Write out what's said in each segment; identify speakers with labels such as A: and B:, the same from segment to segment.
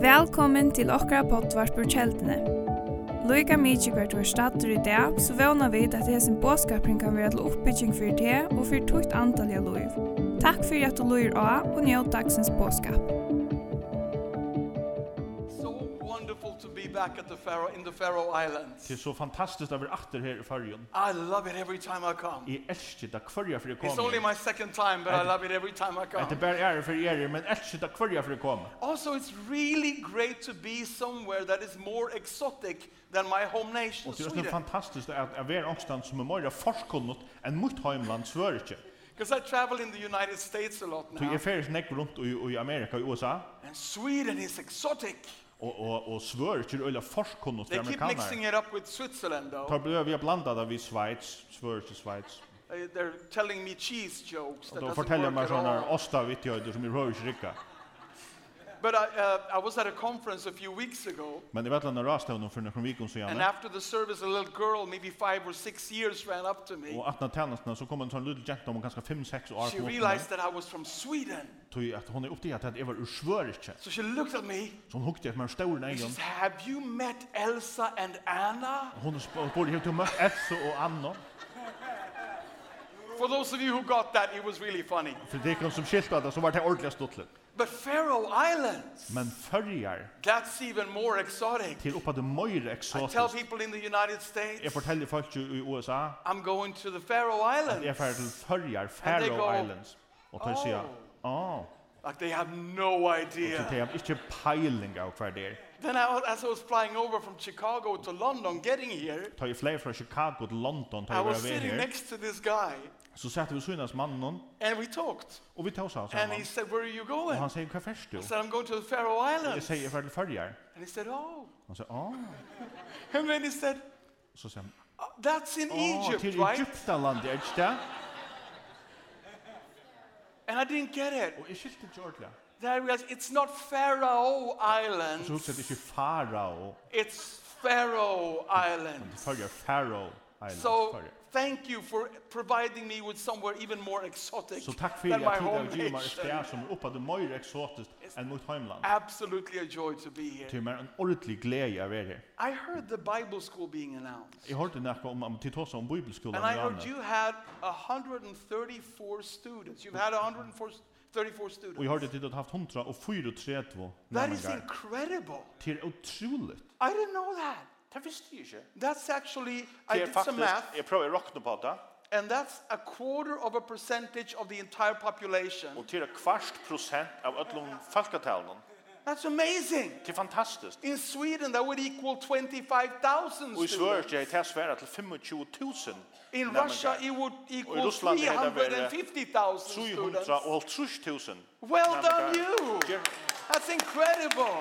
A: Velkommen til okkara poddvarp ur kjeldene. Loika mykje hvert du er stater i dag, så vana vi at hesen båskapring kan være til oppbygging for det og for tukt antalliga loiv. Takk fyrir at du loir av og njød dagsens båskap.
B: So wonderful to be back at the Faroe in the Faroe
C: Det er
B: Islands.
C: så fantastiskt att vara åter här i Färjön.
B: I love it every time I come.
C: Jag älskar det er kvarja för det
B: It's only
C: kommer.
B: my second time, but I
C: And-
B: love it every time I
C: Att det
B: come.
C: bara är för er, men älskar det kvarja för det kommer.
B: Also, it's really great to be somewhere that is more exotic than my home nation,
C: Och det er är så
B: Sweden.
C: fantastiskt att att vara någonstans som är mer forskunnat än mitt hemland Sverige.
B: Because I travel in the United States a lot
C: Så
B: now.
C: jag färdas näck runt i i Amerika och USA
B: And Sweden is exotic.
C: och och och Sverige är ölla forskunnat i
B: They keep mixing
C: amerikaner.
B: it up with Switzerland,
C: Tar
B: though.
C: blev vi blandade av i Schweiz, Sverige Schweiz.
B: They- Uh, They're telling me cheese jokes
C: Och
B: that
C: då
B: doesn't
C: fortäljer man
B: work at
C: såna
B: all.
C: ostavitjöder som i Rörsrika.
B: But I, uh, I was at a conference a few weeks ago,
C: Men det vet jag när rastavnen för några veckor
B: And
C: sedan.
B: after the service, a little girl, maybe five or six years, ran up to me.
C: Och att när tjänsterna så kommer en sån liten jenta om ganska 5-6 år.
B: She realized that I was from Sweden.
C: tog att hon er är upptagen att det var ur Sverige.
B: So she looked at me
C: Så hon hukte att man står i
B: and she
C: egen.
B: says, Have you met Elsa and Anna?
C: Hon spår helt till mött Elsa och Anna.
B: For those of you who got that, it was really funny.
C: För det kan som skiltade så var det ordentligt stuttligt.
B: But Faroe Islands,
C: Men följar
B: that's even more exotic.
C: till uppe det mer
B: I tell
C: exotiskt.
B: people in the United
C: Jag
B: States,
C: fortäller folk ju i USA
B: I'm going to the Faroe
C: att jag färd till
B: Islands.
C: följar
B: go-
C: Faroe Islands. Och tar sig
B: Oh.
C: Ja.
B: Like they have no
C: Så det
B: idea.
C: är inte peiling av kvar det.
B: Then I, as I was flying over from Chicago to London, getting here,
C: Tar ju fler från Chicago till London tar
B: I
C: ju
B: was
C: vara vid
B: sitting
C: här.
B: next to this guy
C: Så satt vi synas mannen
B: and we talked.
C: och vi tog oss av
B: And
C: samman.
B: he said, Where are you
C: Och
B: going?
C: han
B: I
C: säger, vad färst du?
B: said, I'm going to the Faroe
C: Jag
B: Islands.
C: säger, jag färd till följar.
B: And he said, Oh.
C: Han säger, ja.
B: And then he said,
C: Så säger han,
B: "Uh, That's in
C: Åh,
B: Egypt,
C: til
B: right?
C: Egyptaland, er ikke det?
B: And I didn't get it.
C: Og jeg skilte ikke ordentlig.
B: Then I realized it's not Faroe
C: Og så husker
B: Islands,
C: jeg ikke Farao,
B: it's Faroe
C: men det
B: Islands.
C: følger Farao Islands.
B: So
C: følger.
B: thank you for providing me with somewhere even more exotic
C: Så takk for
B: than
C: at
B: my
C: jeg
B: home
C: tidligere gir meg et
B: nation.
C: sted som er oppe av er det mer eksotisk enn mot heimland.
B: Absolutely a joy to be here.
C: Til meg en ordentlig glede av er her.
B: I heard the Bible school being announced.
C: Jeg hørte noe om, om til tross om bibelskolen.
B: And
C: i
B: I heard
C: Arne.
B: you had 134 students. You've had 134 students.
C: Og jeg hørte til at du har haft 134
B: That is
C: nærmengar.
B: incredible.
C: Til er utroligt.
B: I didn't know that.
C: Det visste jeg ikke.
B: That's actually, I did some math,
C: jeg prøver å råkne på det,
B: and that's a quarter of a percentage of the entire population.
C: og til kvart prosent av ødlom folketalen.
B: That's amazing.
C: Det er fantastisk.
B: In Sweden, that would equal 25,000
C: Og i
B: students.
C: Sverige er det svære til 25.000
B: In Russia, it would
C: Og i
B: equal
C: Russland er det bare
B: 350,000 students.
C: 350.000
B: Well done, you.
C: Ger-
B: That's incredible.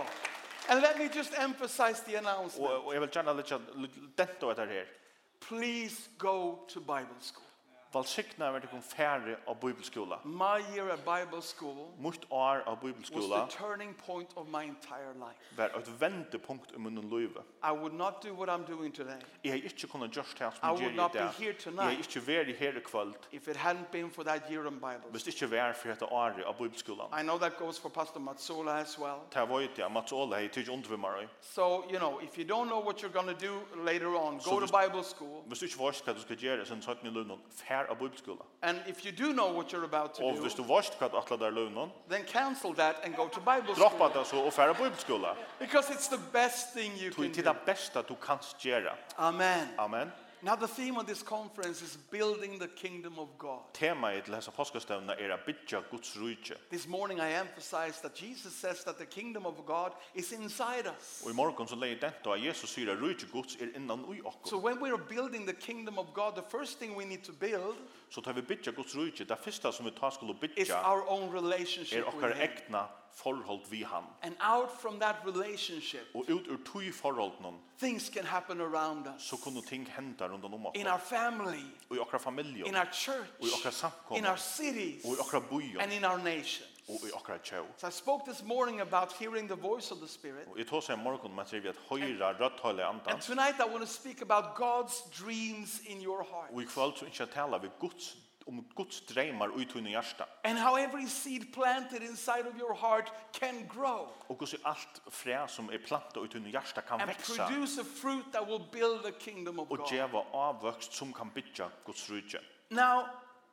B: And let me just emphasize the announcement.
C: Og, og jeg vil gjerne litt dent av dette her.
B: Please go to Bible school.
C: Valsikna er det færre av bibelskola.
B: My year at Bible school
C: Mot år av
B: was
C: bibelskola
B: the turning point of my entire life.
C: var et vendepunkt i munnen løyve.
B: I would not do what I'm doing today
C: Jeg har ikke kunnet gjøre det
B: I
C: som
B: would
C: jeg
B: not
C: gjør
B: be
C: i
B: here
C: dag. Jeg
B: tonight.
C: har ikke vært her i kvöld.
B: if it hadn't been for that year in Bible
C: Hvis
B: school.
C: det ikke var for dette året av bibelskolan.
B: I know that goes for Pastor Matsola as well.
C: Det var jo det. Mats Åle har ikke undervimmer.
B: So, you know, if you don't know what you're going to do later on,
C: So
B: go to
C: just-
B: Bible school.
C: Hvis du ikke vet hva du skal gjøre, så er det lønnen færre av bibelskola.
B: And if you do know what you're about to
C: Og hvis
B: do,
C: du vet hva du atler der lønnen,
B: then cancel that and go to Bible
C: droppa
B: school.
C: det så og færre bibelskola.
B: Because it's the best thing you
C: Tog
B: can
C: er til
B: do.
C: det beste du kan gjøre.
B: Amen.
C: Amen.
B: Now, the theme of this conference is building the kingdom of God.
C: Temaet til hese påskestevnene er at bytja Guds rydje.
B: This morning I emphasized that Jesus says that the kingdom of God is inside us.
C: Og i morgen så leier dette at Jesus sier at rydje Guds er innan ui
B: So
C: okko.
B: when we are building the kingdom of God, the first thing we need to build
C: Så tar vi bytja Guds rydje. Det første som vi tar skulle
B: is
C: bytja
B: our own
C: er
B: relationship with
C: okkar
B: him.
C: egna forhold vi han.
B: And out from that relationship,
C: Og ut ur tui forholdene
B: things can happen around us.
C: så kunne ting henda rundt om
B: In our
C: okko.
B: family,
C: Og i okkar
B: in
C: familjon.
B: our church,
C: Og i okkar samkommer.
B: in our cities,
C: Og i okkar
B: and
C: bujon.
B: in our nation.
C: Og i okkar tjau.
B: So I spoke this morning about hearing the voice of the Spirit.
C: Og i tås er morgen man sier vi at høyra rødthøyla
B: And
C: andan.
B: tonight I want to speak about God's dreams in your heart.
C: Og i kvöld så ikke jeg tala vi Guds om Guds dreymar og utunne hjärsta.
B: And how every seed planted inside of your heart can grow
C: Og hvordan alt fræ som er planta utunne hjärsta kan
B: and
C: växa
B: produce a fruit that will build the kingdom of
C: og
B: God.
C: djeva avvöxt som kan bytja Guds rydje.
B: Now,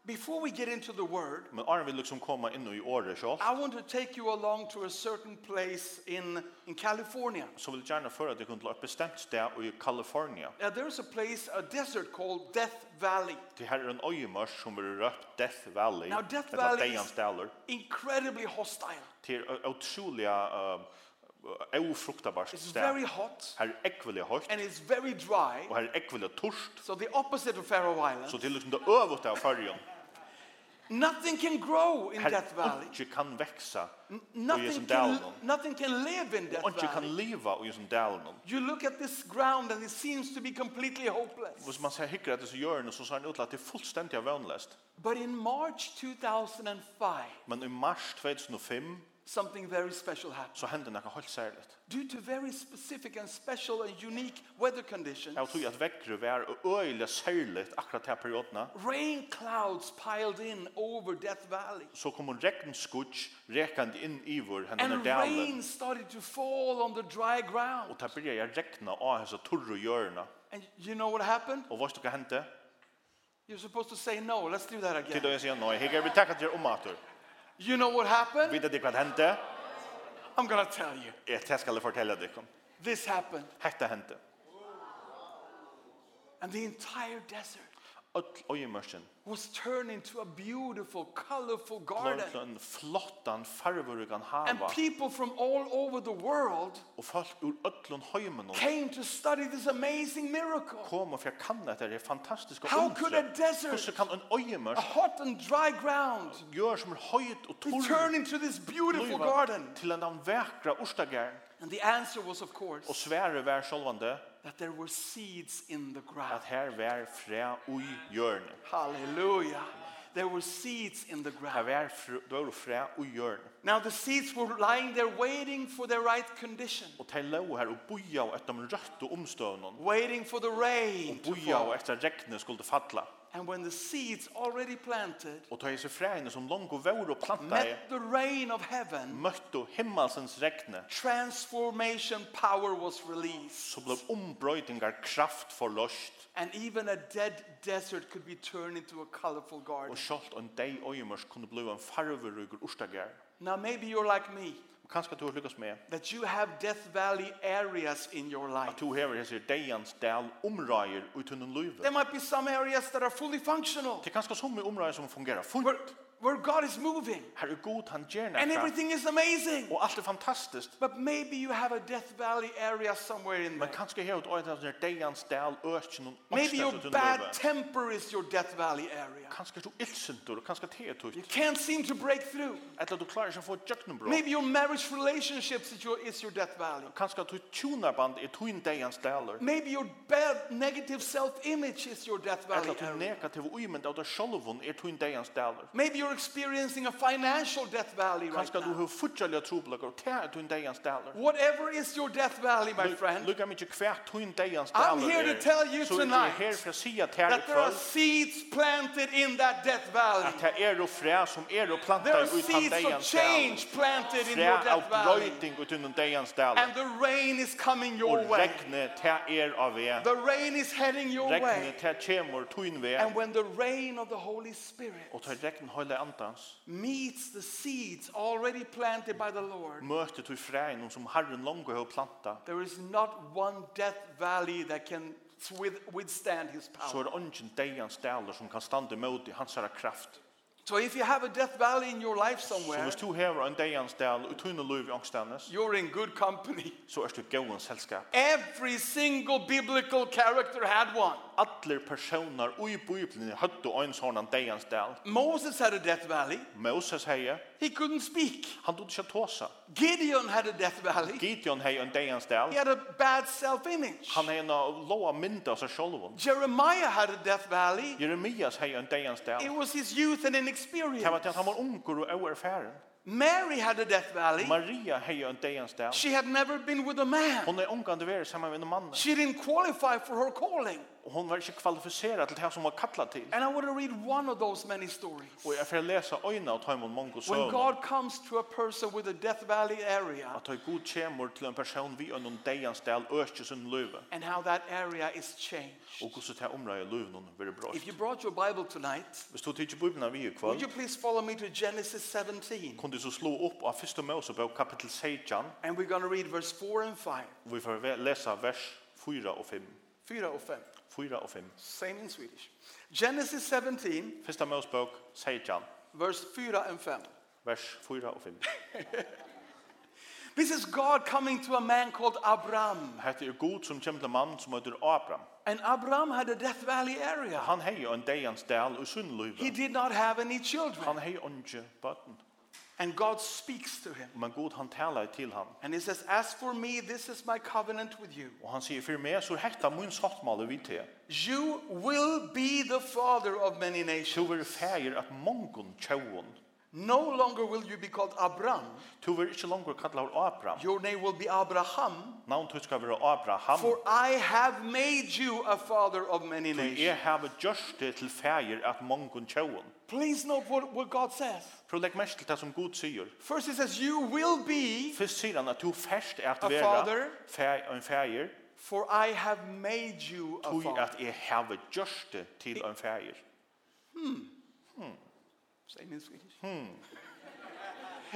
B: before we get into the word,
C: Men Aron vil liksom komme inn i året sjálv.
B: I want to take you along to a certain place in, in California.
C: Så vil jeg gjerne føre at jeg kunne til et bestemt sted i Kalifornia.
B: Now, Uh, there's a place, a desert called Death Valley.
C: Det her er en øyemørs som vil røpt Death Valley.
B: Now, Death
C: eller
B: Valley is-
C: Deians Daler.
B: Incredibly hostile.
C: Det er ø- utrolig uh, ofruktabart
B: It's
C: sted.
B: very hot
C: Her er ekvelig høyt,
B: and it's very dry.
C: og her er ekvelig torst.
B: So, the opposite of Faroe
C: Så
B: Island.
C: det er liksom det øvete av fargen.
B: Nothing can grow in
C: Her
B: Death Valley.
C: ikke kan veksa i
B: Nothing
C: Jesum
B: can,
C: Dalen.
B: nothing can live in Death
C: Og ikke kan
B: Valley.
C: leva i Jesum Dalen.
B: You look at this ground and it seems to be completely hopeless.
C: Hvis man ser hikker etter så gjør det, så ser det ut til at det er fullstendig av vannlest.
B: But in March 2005,
C: Men i mars 2005
B: something very special happened.
C: så hendte noe helt særlig.
B: Due to very specific and special and unique weather conditions,
C: Jeg tror at vekkere var øyelig særlig akkurat til periodene.
B: rain clouds piled in over Death Valley.
C: Så kom en regnskudds rekende inn i vår hendene
B: And
C: dalen.
B: rain started to fall on the dry ground.
C: Og det blir jeg regna av hans torre hjørne.
B: And you know what happened?
C: Og hva du hva hendte?
B: You're supposed to say no. Let's do that
C: Til
B: again.
C: da jeg sier, nei, jeg vil takke til om at du.
B: You know what happened?
C: Vet du hva hendte?
B: I'm going to tell you.
C: Jeg det skal jeg fortelle deg om.
B: This happened.
C: Hette hendte.
B: And the entire desert
C: Öll øyemørsen.
B: was turned into a beautiful, colorful garden.
C: Klønkløn, flottan, farverugan
B: And
C: hava.
B: people from all over the world
C: Og folk ur öllun høymen og
B: came to study this amazing miracle.
C: kom og fyrir kanna etter det fantastiska
B: How could a desert- Ah.
C: Hvordan kan
B: A
C: en øyemørs
B: hot and dry ground
C: gjøre som er høyt og
B: be turned
C: torr
B: into this beautiful
C: Luiva
B: garden.
C: til en av vekra ostagern?
B: And the answer was, of
C: Og
B: course,
C: svære vær sjálvande
B: that there were seeds in the ground.
C: at her vær fræ ui hjørne.
B: Hallelujah. There were seeds in the
C: Her
B: ground.
C: vær dør fræ ui hjørne.
B: Now the seeds were lying there waiting for their right condition,
C: Og tei lå her og boja og etter de røtte omstøvnen.
B: waiting for the rain.
C: Og
B: to
C: boja og
B: fall.
C: etter regnet skulle falla.
B: And when the seeds already planted
C: Og tei seg fræene som langt og vær og planta i,
B: met the rain of heaven,
C: møtte himmelsens regne,
B: transformation power was released.
C: så ble ombrøytingar kraft for løst.
B: And even a dead desert could be turned into a colorful garden.
C: Og sjalt en deg øyemørs kunne bli en farverugur ostagern.
B: Now maybe you're like me,
C: Og kanskje du har lykkes med
B: that you have Death Valley areas in your life.
C: at du hever hesir deians del omrøyer uten en løyve.
B: There might be some areas that are fully functional,
C: Det er kanskje som i omrøyer som fungerer
B: where,
C: fullt.
B: where God is moving,
C: Her er god, han gjør
B: and
C: nekka.
B: everything is amazing.
C: Og alt er fantastisk.
B: But maybe you have a Death Valley area somewhere in
C: Men
B: there.
C: kanskje her er ut øyne av denne deians del økken og
B: Maybe your
C: økken
B: bad temper is your Death Valley area.
C: Kanskje er du ilsentur, og kanskje te er
B: You
C: tutt.
B: can't seem to break through.
C: Etter at du klarer ikke å få tjøkkenbrå.
B: Maybe your marriage relationships is your, is your Death Valley.
C: Kanskje at du tjonarband er tuin deians deler.
B: Maybe your bad negative self-image is your Death Valley
C: Eller at du
B: area.
C: Er negativ uimend av deg sjolvun er tuin deians deler.
B: Maybe you're experiencing a financial Death Valley right
C: Kanskje du
B: now.
C: har futjalja troblagar og te er tuin deians deler.
B: Whatever is your Death Valley, my friend,
C: Lukka mykje kvært tuin deians deler
B: I'm here to
C: er.
B: tell you
C: Så er
B: tonight
C: jeg her for å si at her i
B: that there are
C: kvöld
B: seeds planted in that Death Valley.
C: at det er og fræ som er og
B: There
C: plantar
B: are
C: ut han
B: seeds of
C: deians deler.
B: change planted in
C: Fræ
B: your
C: av
B: Death Valley.
C: brøyting ut undan deians deler.
B: And the rain is coming your
C: Og
B: way.
C: regne te er av ve.
B: The rain is heading your
C: Regne
B: way.
C: te kjemur tuin ve.
B: And when the rain of the Holy Spirit
C: Og te regn høyla antans.
B: meets the seeds already planted by the Lord,
C: Møte tu fræin som Herren longu har planta.
B: there is not one death valley that can with, withstand his
C: Så
B: power.
C: er ungen deians deler som kan standa imot i hans herra kraft.
B: So if you have a death valley in your life
C: Så
B: somewhere,
C: hvis du hever en deians del og tuin og luv i angstendnes,
B: you're in good company.
C: så er du gåen selskap.
B: Every single biblical character had one.
C: Allir personer ui bøyblinni høttu ein sånn deians del.
B: Moses had a death valley.
C: Moses heie,
B: He couldn't speak.
C: han tog ikke tåsa.
B: Gideon had a death valley.
C: Gideon hei en deians del.
B: He had a bad self-image.
C: Han hei en loa mynda av seg sjolvun.
B: Jeremiah had a death valley.
C: Jeremias hei en deians
B: It
C: del.
B: was his youth and
C: Det var
B: inexperience.
C: til at han var unger og oerfæren.
B: Mary had a death valley.
C: Maria hei en deians del.
B: She had never been with a man.
C: Hon er ungande veri saman med en mann.
B: She didn't qualify for her calling.
C: og hon var ikke kvalifiseret til det som var kallet til.
B: And I want to read one of those many stories.
C: Og jeg får lese øyne av Taimon Mongo
B: When
C: søvn.
B: God comes to a person with a death valley area
C: At høy god kjemur til en person vi og noen deians del økje sin løyve.
B: and how that area is changed.
C: Og hvordan det omrøy løyve noen vil bra.
B: If you brought your Bible tonight,
C: Hvis du tidsi bøybna vi i
B: would
C: kvall,
B: you please follow me to Genesis 17?
C: kunne du så slå opp av 1. Mosebok kapitel 16,
B: And we're going to read verse 4 and 5.
C: og vi får ve- lesa vers 4 og 5.
B: 4 och 5.
C: 4 og 5.
B: Same in Swedish. Genesis 17,
C: 1. Mosebok 16,
B: verse 4 and 5.
C: vers 4 og 5.
B: This is God coming to a man called Abram.
C: Hette er god som kjem til en mann som heter Abraham.
B: And Abram had a death valley area.
C: Han hei jo en deians del og sunn
B: He
C: løyve.
B: did not have any children.
C: Han hei onge bøtten.
B: And God speaks to him.
C: Men god han talar til han.
B: And he says, As for me, this is my covenant with you.
C: Og han sier, for meg så er hetta mun sattmale vi til.
B: You will be the father of many
C: Tu
B: nations.
C: vil feir at mongon tjauon.
B: No longer will you be called Abram.
C: Tu vil ikkje langer kallar Abraham.
B: Your name will be Abraham.
C: Navn tu skal være Abraham.
B: For I have made you a father of many
C: Tu
B: nations.
C: er hava gjørst det til feir at mongon tjauon.
B: Please note what, what God says.
C: Prøv legg mest til det som god sier.
B: First, he says, You will be,
C: Fyrst sier han at du fest er at
B: A
C: vera
B: father.
C: feir, en feir,
B: for I have made you a
C: tu
B: father.
C: at jeg hava gjørst det til en feir.
B: Same in Swedish.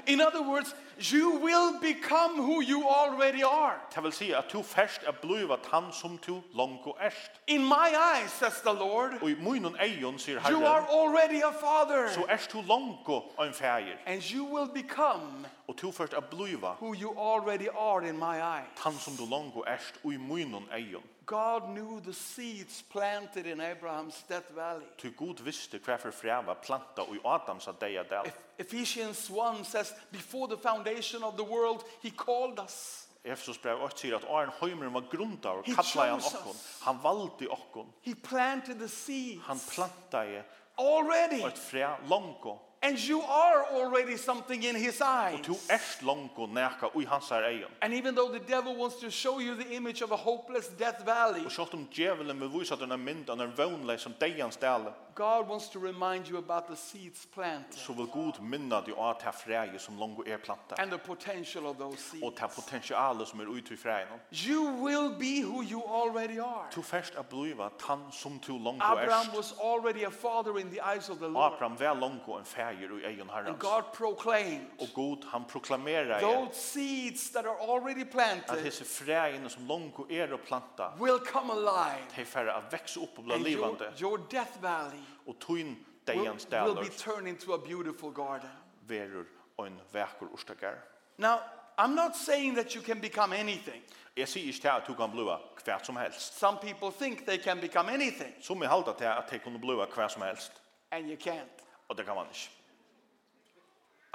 B: In other words, you will become who you already are.
C: Det vil si at du fest er blivet han som du langt erst.
B: In my eyes, says the Lord,
C: Og i munnen eion, sier
B: you are
C: Herren,
B: already a father.
C: så erst du langt en feir.
B: And you will become
C: Og du først er blivet
B: who you already are in my eyes.
C: han som du langt erst og i munnen eion.
B: God knew the seeds planted in Abraham's death valley.
C: Tu god visste hva for freva planta og i Adams at deia del.
B: Eph- Ephesians 1 says, Before the foundation of the world, he called us.
C: Efesus brev 8 sier at Arn Heimeren var grunda og
B: He
C: kallar han
B: chose
C: okkon.
B: us.
C: Han valde okkon.
B: He planted the seeds
C: Han planta i
B: already.
C: og et fre lango.
B: And you are already something in his eyes.
C: Tu erst lango neka ui hans her eion.
B: And even though the devil wants to show you the image of a hopeless death valley,
C: Og sjått om djevelen vil vise at den er mynd um av den vøgnleis som deians dele,
B: God wants to remind you about the seeds planted
C: så vil god minna di av ta freie som lango er planta.
B: and the potential of those seeds.
C: Og ta potensialet som er ui til freien.
B: You will be who you already are.
C: Tu først er bliva tann som tu lango
B: Abraham
C: erst.
B: was already a father in the eyes of the Lord.
C: Abraham var lango en feir ui eion
B: And
C: herrans.
B: God proclaimed
C: Og god han proklamerar er i
B: those seeds that are already
C: at
B: planted
C: hese freien som lango er og planta,
B: will come alive.
C: de færre a vekse opp og bli
B: And your,
C: livande.
B: your death valley
C: Og tuin
B: will,
C: deians
B: will
C: daler
B: be turned into a beautiful garden.
C: verur ein vekur urstagar.
B: Now, I'm not saying that you can become anything.
C: Jeg sier ikke til at du kan blua hver som helst.
B: Some people think they can become anything,
C: Som jeg halda til at jeg kunne blua hver som helst.
B: and you can't.
C: Og det kan man ikke.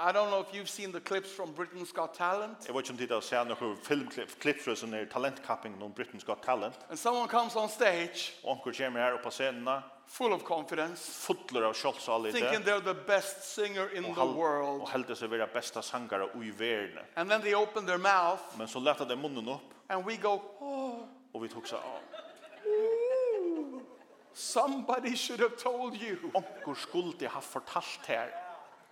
B: I don't know if you've seen the clips from Britain's Got Talent.
C: Jeg vet ikke om tid å se noen filmklipp, klipp fra sånne talentkapping noen Britain's Got Talent.
B: And someone comes on stage
C: Og onker kommer her oppe på scenene,
B: full of confidence,
C: fotler av kjolsalite.
B: thinking they're the best singer in
C: Og,
B: the
C: hal- og
B: world.
C: heldig seg være besta sangare ui verne.
B: And then they open their mouth,
C: Men så lette de munnen opp,
B: and we go, Oh,
C: og vi tok seg av.
B: somebody should have told you.
C: Onker skulle ha fortalt her.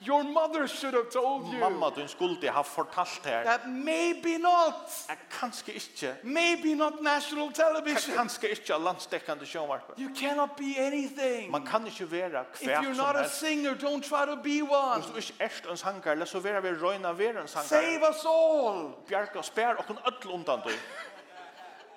B: Your mother should have told you.
C: Mamma, du skulle ha fortalt her.
B: That maybe not,
C: Jeg kanskje ikke,
B: maybe not national television.
C: kanskje ikke av landsdekkende sjånvarpe.
B: You cannot be anything.
C: Man kan ikke være
B: If
C: hver
B: you're
C: som
B: not a
C: helst.
B: singer, don't try to be one.
C: Hvis du ikke erst en sangare, så være vi røyna være en
B: Save
C: sangare.
B: us all.
C: Bjerg og spær og kun ødel undan du.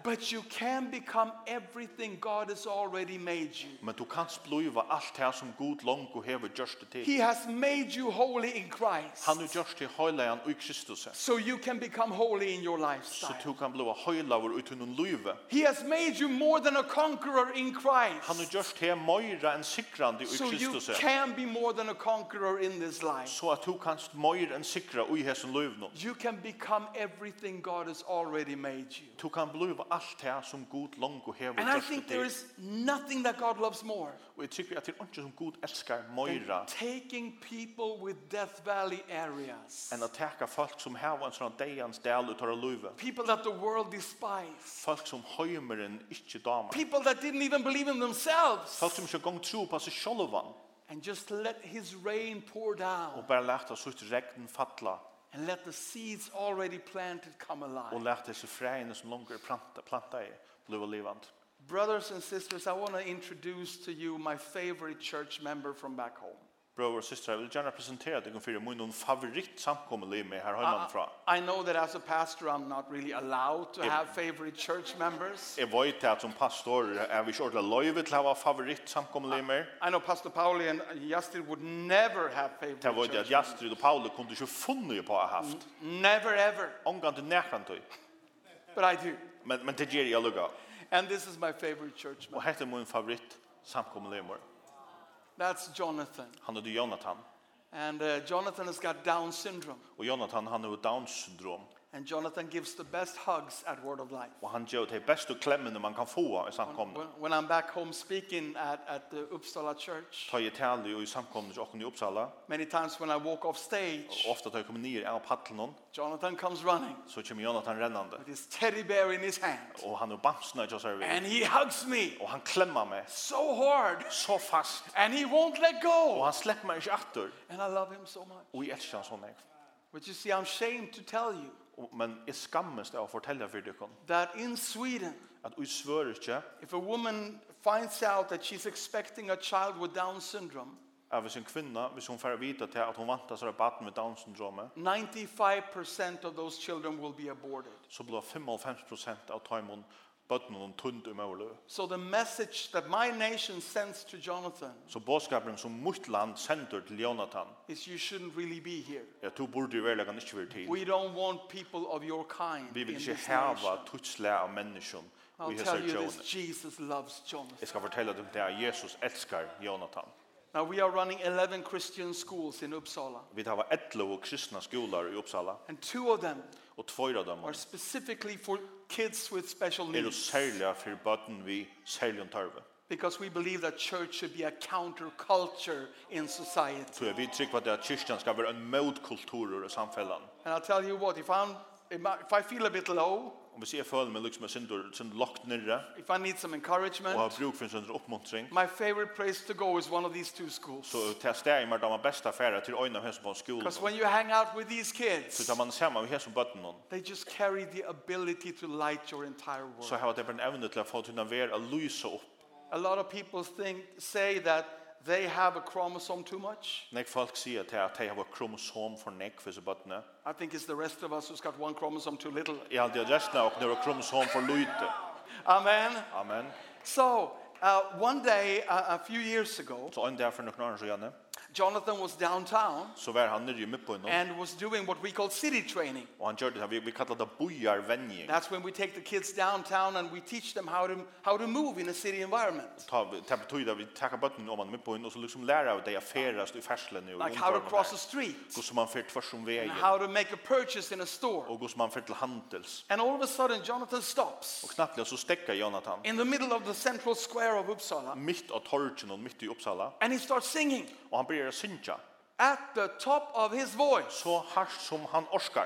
B: But you can become everything God has already made you.
C: Men du kan spliva allt det som god lång og hever gjørst det til.
B: He has made you holy in Christ.
C: Han er gjørst til høyleian og i Kristus.
B: So you can become holy in your
C: Så
B: lifestyle.
C: du kan bliva høylaver ut undan livet.
B: He has made you more than a conqueror in
C: Han er
B: Christ.
C: gjørst til møyra enn sikrande i
B: So you
C: Kristus.
B: can be more than a conqueror in this life.
C: Så at du kanst møyra enn sikra ui hesson liv nå.
B: You can become everything God has already made you.
C: Du kan bliva alt det som Gud langt hever
B: And I
C: gjort
B: think
C: til
B: there is nothing that God loves more
C: Og jeg tykker at det er ikke som Gud elskar
B: than
C: Moira
B: taking people with Death Valley areas,
C: enn å teka folk som hava en sånn deians del ut av løyve.
B: people that the world despise,
C: Folk som høymeren ikke damer.
B: people that didn't even believe in themselves,
C: Folk som ikke gong tro på seg sjolvan
B: and just let His rain pour down
C: og bare lærte oss ut regn fatla
B: and let the seeds already planted come alive.
C: og lærte seg fræene som langer er planta, planta i bliva livand.
B: Brothers and sisters, I want to introduce to you my favorite church member from back home.
C: Brøver og systrar, jeg vil gjerne presentera deg fyrir min noen favoritt samkommelig med her
B: I,
C: heimanfra.
B: I know that as a pastor, I'm not really allowed to have favorite church members.
C: Jeg vet at som pastor er vi ikke ordentlig løyve til å ha favoritt samkommelig med.
B: I know Pastor Pauli and Justin would never have favorite
C: Det var
B: church
C: det at
B: members.
C: Jastrid og Paule kunne ikke funnet på å ha haft.
B: Mm. Never ever.
C: Omgang til nekrantøy.
B: But I do.
C: Men, men det gjør jeg lukka.
B: And this is my favorite church
C: Og
B: member.
C: hette min favoritt samkommelig med.
B: That's Jonathan.
C: Han heter Jonathan.
B: And uh, Jonathan has got Down syndrome.
C: Og Jonathan han har Downs syndrom.
B: And Jonathan gives the best hugs at Word of Life.
C: Og han gjør det beste klemmene man kan få i samkomne.
B: When, when I'm back home speaking at, at the Uppsala church,
C: Ta i tali og i samkomne til åkken i Uppsala.
B: many times when I walk off stage,
C: Og ofte tar jeg kommer ned av paddelen.
B: Jonathan comes running
C: Så kommer Jonathan rennande.
B: with his teddy bear in his hand.
C: Og han er bamsna i Josarvi.
B: And he hugs me
C: Og han klemmer meg
B: so hard.
C: så fast.
B: And he won't let
C: Og
B: go.
C: han slipper meg ikke atter.
B: And I love him so much.
C: Og jeg elsker han sånn jeg.
B: But you see, I'm ashamed to tell you
C: Og- Men jeg skammes det av å fortelle for dere
B: that in Sweden,
C: at jeg svører ikke
B: if a woman finds out that she's expecting a child with Down syndrome,
C: at hvis en kvinne, hvis hun får vite til at hun vantar seg baden med Down-syndromet,
B: 95% of those children will be aborted.
C: så blir 55% av tøymon bøtten hun tunt i målet.
B: So the message that my nation sends to Jonathan
C: Så bådskapen som mitt land sender til Jonathan,
B: is you shouldn't really be here.
C: er at du burde jo være ikke være tid.
B: We don't want people of your kind
C: Vi vil
B: in
C: ikke
B: this
C: hava
B: nation.
C: tutsle av menneskene
B: I'll
C: i
B: tell
C: hese
B: you this,
C: tjone.
B: Jesus loves Jonathan.
C: Jeg skal fortelle dem det at Jesus elskar Jonathan.
B: Now we are running 11 Christian schools in Uppsala.
C: Vi har 11 kristna skolar i Uppsala,
B: And two of them
C: og tvøyra dem
B: are specifically for kids with special
C: er jo
B: needs.
C: særlig for bøtten vi særlig tørve.
B: Because we believe that church should be a counterculture in society.
C: Så vi trykker på det er at kyrkjan skal være en motkultur i samfellan.
B: And I'll tell you what, if, I'm, if I- if I feel a bit low,
C: Om vi ser føler meg liksom sin sin lagt nere
B: if I need some
C: og har
B: encouragement,
C: bruk for en sånn oppmuntring
B: my favorite place to go is one of these two schools.
C: så tar steg med de beste affærer til øynene av hesen på
B: Because
C: skolen.
B: when you hang out with these
C: Så
B: kids,
C: tar man sammen med hesen på bøtten
B: they just carry the ability to light your entire
C: så
B: world.
C: har det bare en evne til å få til å være å lyse opp.
B: A lot of people think, say that they have a chromosome too much.
C: Når folk sier til at de har et kromosom for nek for seg bøttene,
B: I think it's the rest of us who's got one chromosome too little.
C: jeg har alltid resten av dere har kromosom for lyte.
B: Amen.
C: Amen.
B: So, uh, one day, uh, a few years ago,
C: Så en dag for noen år siden,
B: Jonathan was downtown
C: så var han nere i midtbøyden,
B: and was doing what we call city training.
C: og han gjør det, vi, vi kallar det bojarvenjing.
B: That's when we take the kids downtown and we teach them how to, how to move in a city environment.
C: ta ta betyder att vi tackar botten om man med på en och så liksom lära av det affärast i färslen nu
B: Like how to cross the street,
C: hur som man för tvärs om
B: and
C: vägen
B: how to make a purchase in a store.
C: och hur som man för till handels
B: And all of a sudden, Jonathan stops
C: och knappt så stäcka Jonathan
B: in the middle of the central square of Uppsala
C: mitt av torgen och mitt i Uppsala
B: and he starts singing
C: och han börjar synja
B: at the top of his voice.
C: så harsh som han orskar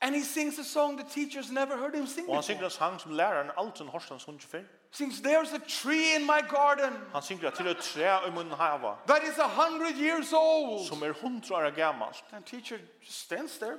B: And he sings a song the teachers never heard him sing
C: och han
B: before.
C: synger en sang som läraren alltid har sen sjungit för
B: Sings, There's a tree in my garden
C: han synger till ett trä i mun hava
B: that is a hundred years old.
C: som är hundra år gammalt
B: And teacher just stands there.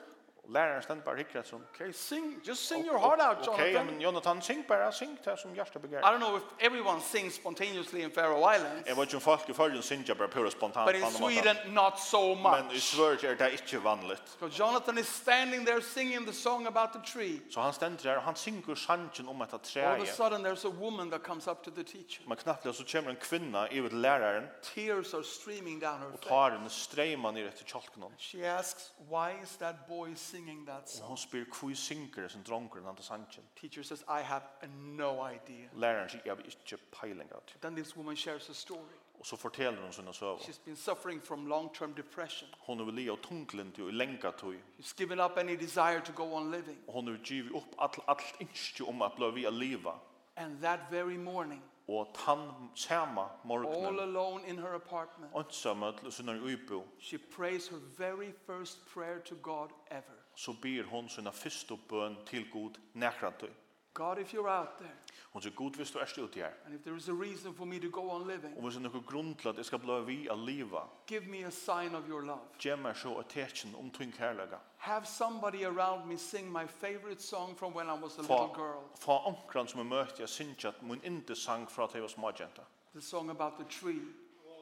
C: och läraren ständ bara hickar som
B: Okay, sing. Just sing your heart out,
C: Okej,
B: Jonathan.
C: men Jonathan syng bara syng det som hjärtat
B: I
C: begär
B: don't know if everyone sings spontaneously in Faroe Islands,
C: Jag vet inte om folk i förrjun synger bara pura spontant
B: but in
C: på annan måte.
B: Sweden, not so
C: Men i
B: much.
C: Sverige er det ikke vanligt.
B: So Jonathan is standing there singing the song about the tree.
C: Så han stender der, og han synger sangen om dette
B: All of a
C: treet.
B: sudden, there's a woman that comes up to the teacher.
C: Men knappt så kommer en kvinna i ved læreren,
B: Tears are streaming down her
C: og
B: face.
C: tar henne streima ned etter kjalken hans.
B: She asks, Why is that boy singing that
C: Og
B: song?
C: hun spyr hvor synger det sin dronker enn sangen.
B: Teacher says, I have no idea.
C: Læreren sier, jeg vil ikke peiling av det.
B: Then this woman shares a story.
C: Og og så forteller hon sina søver.
B: She's been suffering from long-term depression.
C: Hon har leo tunglint og lenka tøy,
B: She's given up any desire to go on living.
C: og hon har givet opp all, allt innskje om at blå vi a liva,
B: And that very morning,
C: og tann sama
B: all
C: morgnen,
B: alone in her apartment,
C: åndsama til sinna uibo,
B: she prays her very first prayer to God ever.
C: så ber hon sina fyrstu bøn til god nekra tøy.
B: God, if you're out there,
C: Hon sier, god hvis du erst ut her,
B: and if there is a reason for me to go on living,
C: og hvis det er noe grunn til at jeg skal blå vi a liva,
B: give me a sign of your love.
C: Gjør meg så et tekken om tyng kærlega.
B: Have somebody around me sing my favorite song from when I was a
C: Få,
B: little girl.
C: få omkran som jeg møtte, jeg synes at min inte sang fra til jeg var småkjenta.
B: The song about the tree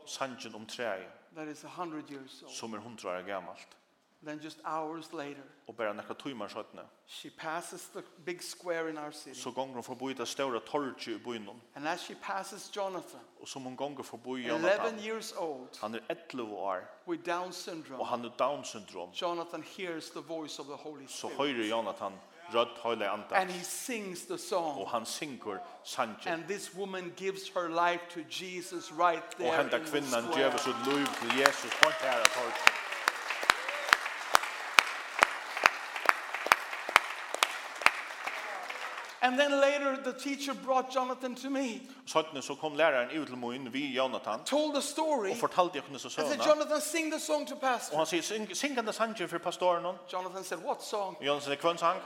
C: Sangen om treet,
B: that is a hundred years old.
C: som um er hundra år gammalt.
B: Then just hours later,
C: Og bare nekka tøymar søttene.
B: she passes the big square in our city.
C: Så gonger hun forbi det større torget i byen.
B: and as she passes Jonathan,
C: Og som hun gonger forbi
B: 11
C: Jonathan.
B: years old,
C: Han er 11 år,
B: with Down syndrome,
C: og han er Down syndrom.
B: Jonathan hears the voice of the Holy
C: Så
B: Spirit.
C: høyre Jonathan rødt høyre
B: And
C: andan.
B: he sings the
C: Og
B: song.
C: han synger sangen.
B: And this woman gives her life to Jesus right
C: Og
B: there.
C: henda
B: in the
C: kvinnan
B: square.
C: djeves ut liv til Jesus på en tæra torget.
B: And then later, the teacher brought Jonathan to me,
C: Søttene så kom læreren ut til min vi Jonathan
B: told the story.
C: og fortalte henne så
B: I said,
C: søvna.
B: Jonathan, sing the song to
C: Og
B: Pastor.
C: han sier, syng, syng henne sangen for pastoren hon.
B: Jonathan said, What song?
C: Og Jonathan sier, hvem sang?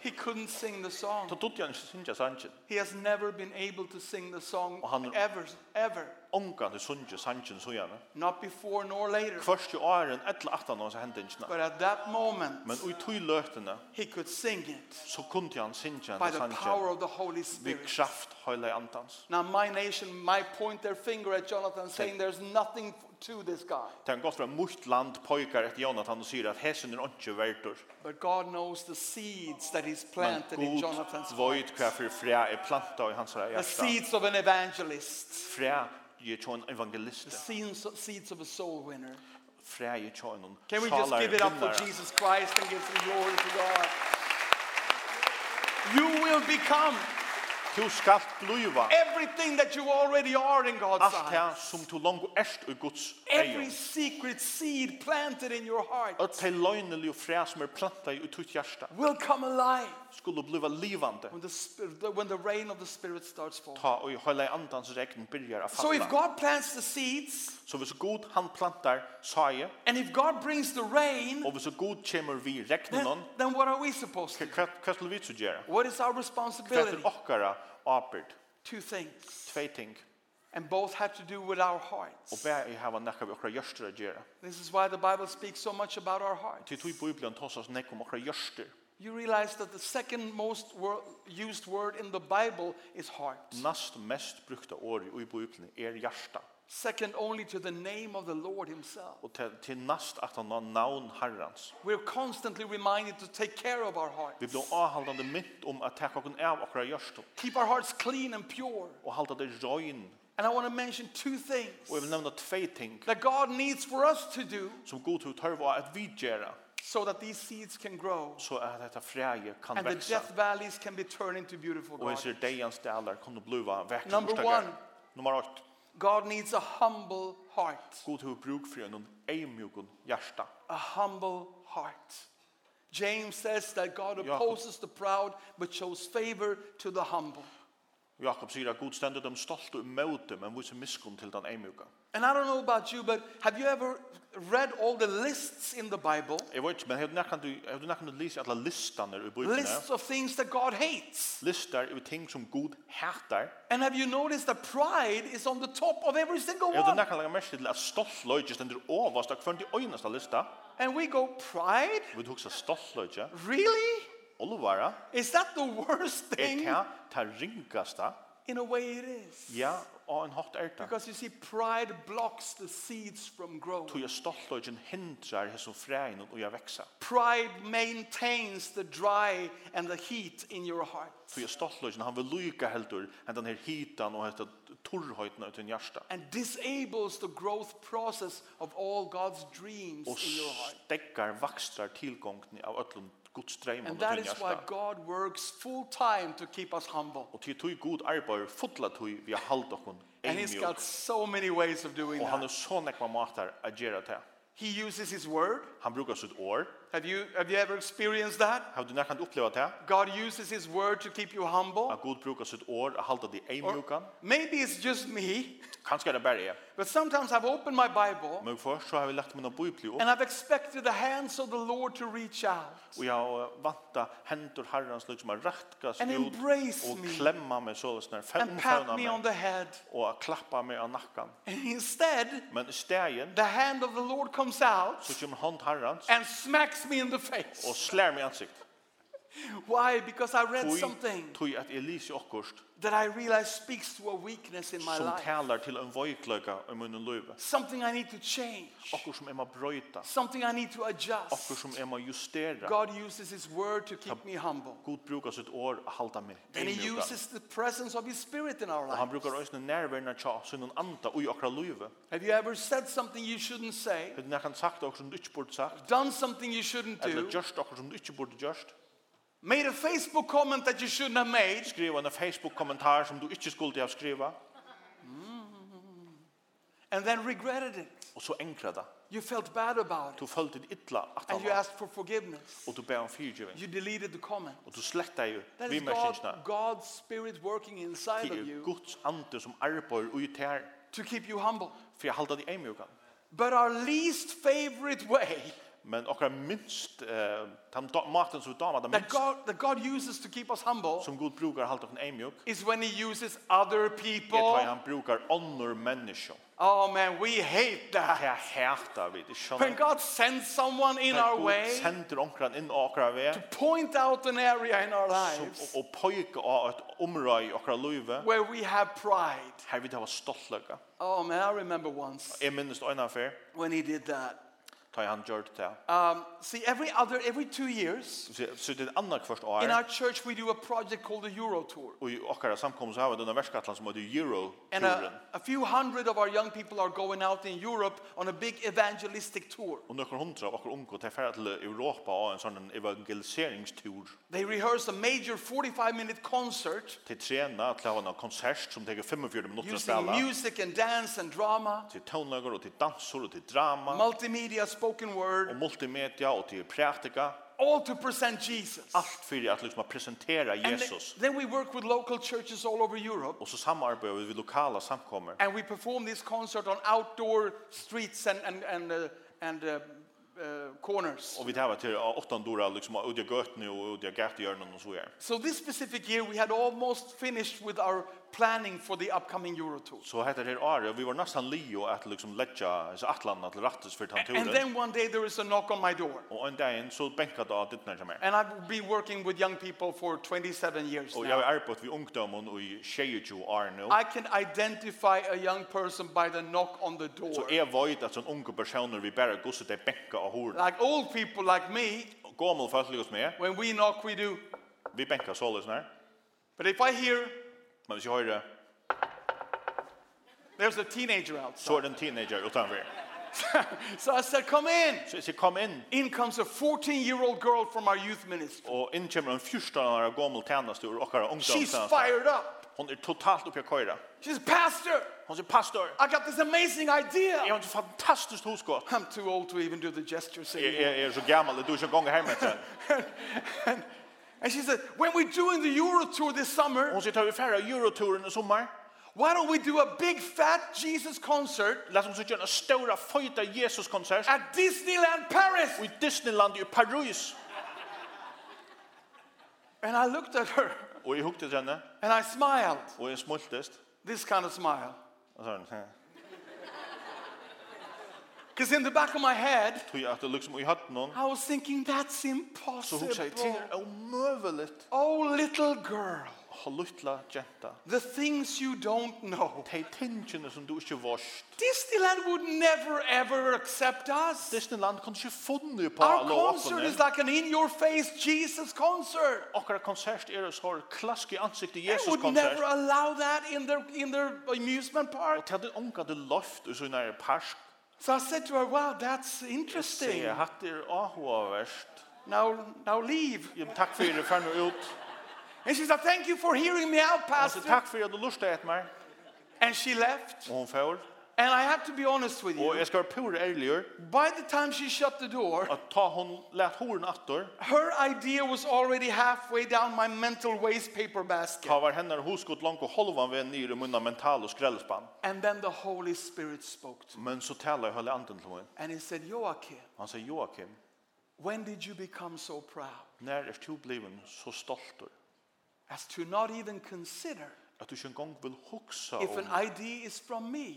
B: He couldn't sing the song.
C: Så tog han ikke synge sangen.
B: He has never been able to sing the song
C: Och han-
B: ever, ever.
C: Ongan til synge sangen så gjerne.
B: Not before nor later.
C: Først i åren, etter aftan hans hendingsna.
B: But at that moment,
C: Men ui tui løtene
B: he could sing it
C: så kunde han synge
B: by
C: henne
B: the power
C: sangen
B: of the Holy
C: vi
B: Spirit.
C: kraft høyla andans.
B: Now, my nation might point their finger at Jonathan saying there's nothing f- to this guy.
C: Det har gått fra mot land pojkar etter Jonathan og sier at hesen er ikke verdur.
B: But God knows the seeds that he's
C: Men
B: planted in Jonathan's
C: god
B: heart.
C: void hva for fræ er planta i hans
B: The
C: hjärsta.
B: seeds of an evangelist,
C: Fræ gir tjå en
B: the
C: evangeliste.
B: seeds seeds of a soul winner.
C: fräje tjånen.
B: Can we just give it up for Jesus Christ and give some glory to God? You will become
C: Du skall bliva
B: everything that you already are in God's
C: allt
B: eyes.
C: det som du långt erst i Guds
B: Every
C: ögon.
B: secret seed planted in your heart
C: Att de lögneliga frä som är planta i ditt hjärta
B: will come alive
C: skulle bliva livande
B: when the, spirit, when the rain of the Spirit starts falling.
C: ta och hålla andans regn börjar att
B: So if
C: falla.
B: God plants the seeds
C: Så hvis Gud han plantar saje
B: and if God brings the rain,
C: och hvis Gud kommer vi
B: then,
C: regnen
B: then what are we supposed to do?
C: vad vad skulle vi så göra?
B: What is our
C: Vad
B: responsibility?
C: är åkara apert?
B: Two things.
C: Två ting.
B: And both have to do with our
C: Och
B: hearts.
C: bär i hava näka vi åkara görstra göra.
B: This is why the Bible speaks so much about our
C: Till
B: hearts.
C: tog i Bibeln tåsas näka om åkara görstra.
B: You realize that the second most wor- used word in the Bible is heart.
C: Näst mest brukta ord i Bibeln är hjärta.
B: Second only to the name of the Lord himself.
C: og til, til nast at han har navn herrans.
B: We're constantly reminded to take care of our
C: Vi
B: hearts.
C: blir avhaldande mynt om at taka okkur av okra gjørstum
B: Keep our hearts clean and pure.
C: og halda det røyn.
B: And I want to mention two
C: Og jeg vil
B: things
C: nevna tvei ting
B: that God needs for us to do
C: som god hu tørva at vi gjera
B: so that these seeds can grow
C: så at dette fræje kan
B: and the
C: veksa
B: death valleys can be turned into beautiful
C: og jeg ser
B: gardens.
C: deians dalar kunne bluva vekk
B: Number
C: orsdagar.
B: one.
C: Nummer 8.
B: God needs a humble heart.
C: God hu bruk for en eimjukun hjärsta.
B: a humble heart. James says that God
C: Jakob.
B: opposes the proud but shows favor to the humble.
C: Jakob sier at god stendur dem stolt og møte, men viser miskunn til den eimjuka.
B: And I don't know about you, but have you ever read all the lists in the Bible?
C: Jeg vet ikke, men hevdu nekkan du, hevdu nekkan du lise alla listaner i bøybina?
B: Lists of things that God hates.
C: Listar over ting som god hætar.
B: And have you noticed that pride is on the top of every single
C: Er det
B: one?
C: nekka laga mest til at stoltløyge stendur overst av kvönd i øynasta lista?
B: And we go, Pride?
C: Vi hugsa stoltløyge,
B: Really?
C: olvara,
B: Is that the worst
C: er
B: thing?
C: ta, ta ringasta,
B: In a way, it is.
C: ja, og en hot er ta.
B: Because you see, pride blocks the seeds from growing.
C: Tog jeg stoltløygen er hindrar hesson fræin og jeg veksa.
B: Pride maintains the dry and the heat in your heart.
C: Tog jeg stoltløygen, han er vil lyka heldur, enn den her hitan og hetta torrhøytna utan hjärsta.
B: And disables the growth process of all God's dreams
C: Og
B: in your heart.
C: stekkar vakstar tilgångni av öllum Guds dreim
B: And
C: under
B: that
C: tun
B: is why
C: hjärsta.
B: God works full time to keep us humble.
C: Og til tui god arbeid fulla tui vi har halda okon
B: And he's got
C: eimjøk.
B: so many ways of doing
C: Og han
B: that.
C: er så nekva matar a gjerra det.
B: He uses his word.
C: Han brukar sitt år.
B: Have you, have you ever experienced that?
C: Har du nekkan oppleva det?
B: God uses his word to keep you humble.
C: At god brukar sitt år a halda di eimjøkan.
B: Maybe it's just me,
C: Kanskje er det bare jeg.
B: but sometimes I've opened my Bible
C: Men først så har vi lagt min bibli opp.
B: and I've expected the hands of the Lord to reach out
C: Og jeg har vanta hendur herrens lyk som har rakkast
B: And
C: ut
B: embrace
C: og
B: me.
C: klemma meg så løsner,
B: and pat
C: femføvna
B: me on
C: meg
B: the head.
C: og klappa meg av nakkan.
B: And instead,
C: Men i stegin
B: the hand of the Lord comes out
C: så kommer hånd herrens
B: and smacks me in the
C: og
B: face.
C: slær meg i ansikt.
B: Why? Because I read
C: Tui,
B: something
C: tui at jeg lyser okkurst
B: that I realize speaks to a weakness in my
C: som
B: life.
C: talar til en voikløyga i munnen løyve.
B: Something I need to change.
C: Okkur som jeg må brøyta.
B: Something I need to adjust.
C: Okkur som jeg må justera.
B: God uses his word to keep me humble.
C: God brukar sitt år å halda meg.
B: And he
C: eimjúkan.
B: uses the presence of his spirit in our
C: Og han
B: life.
C: brukar òsne nærverna tja sunnun anda ui okra løyve.
B: Have you ever said something you shouldn't say?
C: Hetta nakkan sagt okkur som du ikki burde sagt.
B: Done something you shouldn't
C: Eller
B: do?
C: gjørst okkur som du ikki burde gjørst.
B: Made a Facebook comment that you shouldn't have made?
C: Skriva en Facebook-kommentar som du ikki skulle ha skriva.
B: And then regretted it.
C: Og så enkra det.
B: You felt bad about it.
C: Du følte ditt illa at
B: And
C: han
B: you asked for forgiveness.
C: Og du ber om fyrtjøving.
B: You deleted the comment.
C: Og du sletta jo
B: That is God,
C: vimerskinsna.
B: God's spirit working inside
C: Det
B: of
C: er
B: you
C: Guds ande som arbeid ui tær.
B: to keep you humble.
C: For jeg halda det eimjukan.
B: But our least favorite way
C: Men okra minst, eh, den da- maten som vi damar, den
B: that
C: minst
B: God, that God uses to keep us humble
C: som Gud brukar halda okkur eimjuk,
B: is when he uses other
C: er tar
B: people.
C: han brukar onnur menneskjå.
B: Oh man, we hate that.
C: Det hæta vi, det
B: When
C: skjønner.
B: God sends someone in our way
C: Gud sender onkran inn okra vei,
B: to point out an area in our
C: som-
B: lives
C: og- og poika av et område i okra løyve,
B: where we have pride.
C: her vi det var stoltløyga.
B: Oh man, I remember once
C: Jeg minnes det øynafær,
B: when he did that.
C: tar han gjørt det.
B: Um, see, every other, every two years
C: Så- Så det er annak først
B: in our
C: år,
B: church we do a project called the Euro Tour.
C: og i okra samkomst så har vi denne verskatlan som heter
B: And a,
C: Euro-turen.
B: a few hundred of our young people are going out in Europe on a big evangelistic tour.
C: Og nøkker hundra av okra unko til færa til Europa og en sånn evangeliseringstur.
B: They rehearse a major 45 minute concert
C: til trena til å ha en konsert som teker 45 minutter å
B: using
C: spela.
B: music and dance and drama,
C: Til tonlager og til dansor og til drama
B: multimedia, spoken
C: og
B: word,
C: multimedia og til praktika.
B: all to present Jesus.
C: Allt fyrir at liksom presentera
B: And then,
C: Ah, Jesus.
B: then we work with local churches all over Europe
C: Og så samarbeider vi vid lokala samkommer.
B: and we perform this concert on outdoor streets and, and, and, uh, and uh, uh, corners.
C: Og vi tar til åttan dora liksom ut i gøtene og ut i gætehjørnen og så er.
B: So this specific year we had almost finished with our planning for the upcoming Euro Tour.
C: Så heter det er her Ari, og vi var nästan lio at liksom letja så atlanna til rattis fyrir
B: And
C: tanturen.
B: then one day there is a knock on my door.
C: Og en dag så benka det av ditt nærkja mer.
B: And I've been working with young people for 27 years
C: Og jeg
B: now.
C: har arbeidt vi ungdommen og i 22 år nå.
B: I can identify a young person by the knock on the door.
C: Så jeg vet at sånne unge personer vi bare gosset er benka av horen.
B: Like old people like me,
C: Gamal fastlig hos meg.
B: when we knock, we do.
C: Vi bänkar såles när.
B: But if I hear
C: Men hvis jag hör det,
B: there's a teenager outside,
C: så är det en teenager utanför.
B: so I said, Come in.
C: Så så kom in
B: In comes a 14 year old girl from our youth ministry.
C: och in kommer en första några gamal tjänste och åkara
B: She's
C: ungdomstjänste.
B: fired up.
C: Hon är er totalt uppe i köra.
B: She's, Pastor,
C: Hon säger pastor,
B: I got this amazing
C: jag har
B: idea.
C: ett fantastiskt husgott.
B: I'm too old to even do the gestures
C: Jag
B: anymore.
C: är, är er så gammal, du är så gånger hemma sen.
B: And she said, When we're doing the Euro Tour this summer,
C: Hon säger tar vi färra Euroturen i sommar.
B: why don't we do a big fat Jesus concert
C: Låt oss göra en stora fojta Jesus-konsert.
B: at Disneyland Paris.
C: Och i Disneyland i Paris.
B: And I looked at her
C: Och jag hukte till henne.
B: and I smiled,
C: Och jag smultest.
B: this kind of smile.
C: Och så sa hon,
B: Because in the back of my head,
C: tog jag att det liksom i hatten hon.
B: I was thinking, that's
C: Så hon säger,
B: impossible.
C: det är omöjligt.
B: Oh, little girl,
C: Ha luttla genta.
B: the things you don't know.
C: Tei tingene som du ikke varst.
B: Disneyland would never, ever accept us.
C: Disneyland kan ikke funne på
B: Our
C: alle
B: concert
C: åpne.
B: is like an in your face Jesus concert.
C: Akkurat konsert er så har klask i ansiktet i
B: They
C: Jesus
B: would never
C: konsert.
B: allow that in their, in their amusement
C: Og
B: park.
C: til den unga det løft i sånne her parsk.
B: So I said to her, wow, that's
C: Så uh-huh.
B: interesting.
C: jeg hatt er ahua verst.
B: Now, now leave.
C: Ja, takk for det, fer nå ut.
B: And she said, thank you for hearing me out,
C: Og så
B: pastor.
C: takk for at du lurte etter meg.
B: And she left.
C: Og hun får.
B: And I have to be honest with
C: Og
B: you.
C: jeg skal være pur ærligur
B: By the time she shut the door,
C: at ta hon lät horen attor.
B: her idea was already halfway down my mental waste paper basket.
C: Ta var hennar hoskot langt og holvan ved nyr i munna mental og skrellspann.
B: And then the Holy Spirit spoke to me.
C: Men så talar jag höll anden till mig.
B: And he said, Joachim,
C: Han säger Joakim,
B: when did you become so proud
C: när är du bliven så stoltor
B: as to not even consider
C: att du inte en gång vill huxa
B: if an
C: om,
B: idea is from me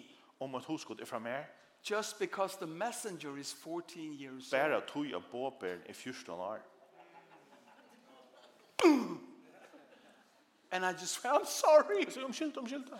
C: om att hoskot är från um er?
B: just because the messenger is 14 years old?
C: Bara tog jag båbären i 14 år.
B: And I just, I'm sorry.
C: Jag säger omkylt, omkylt.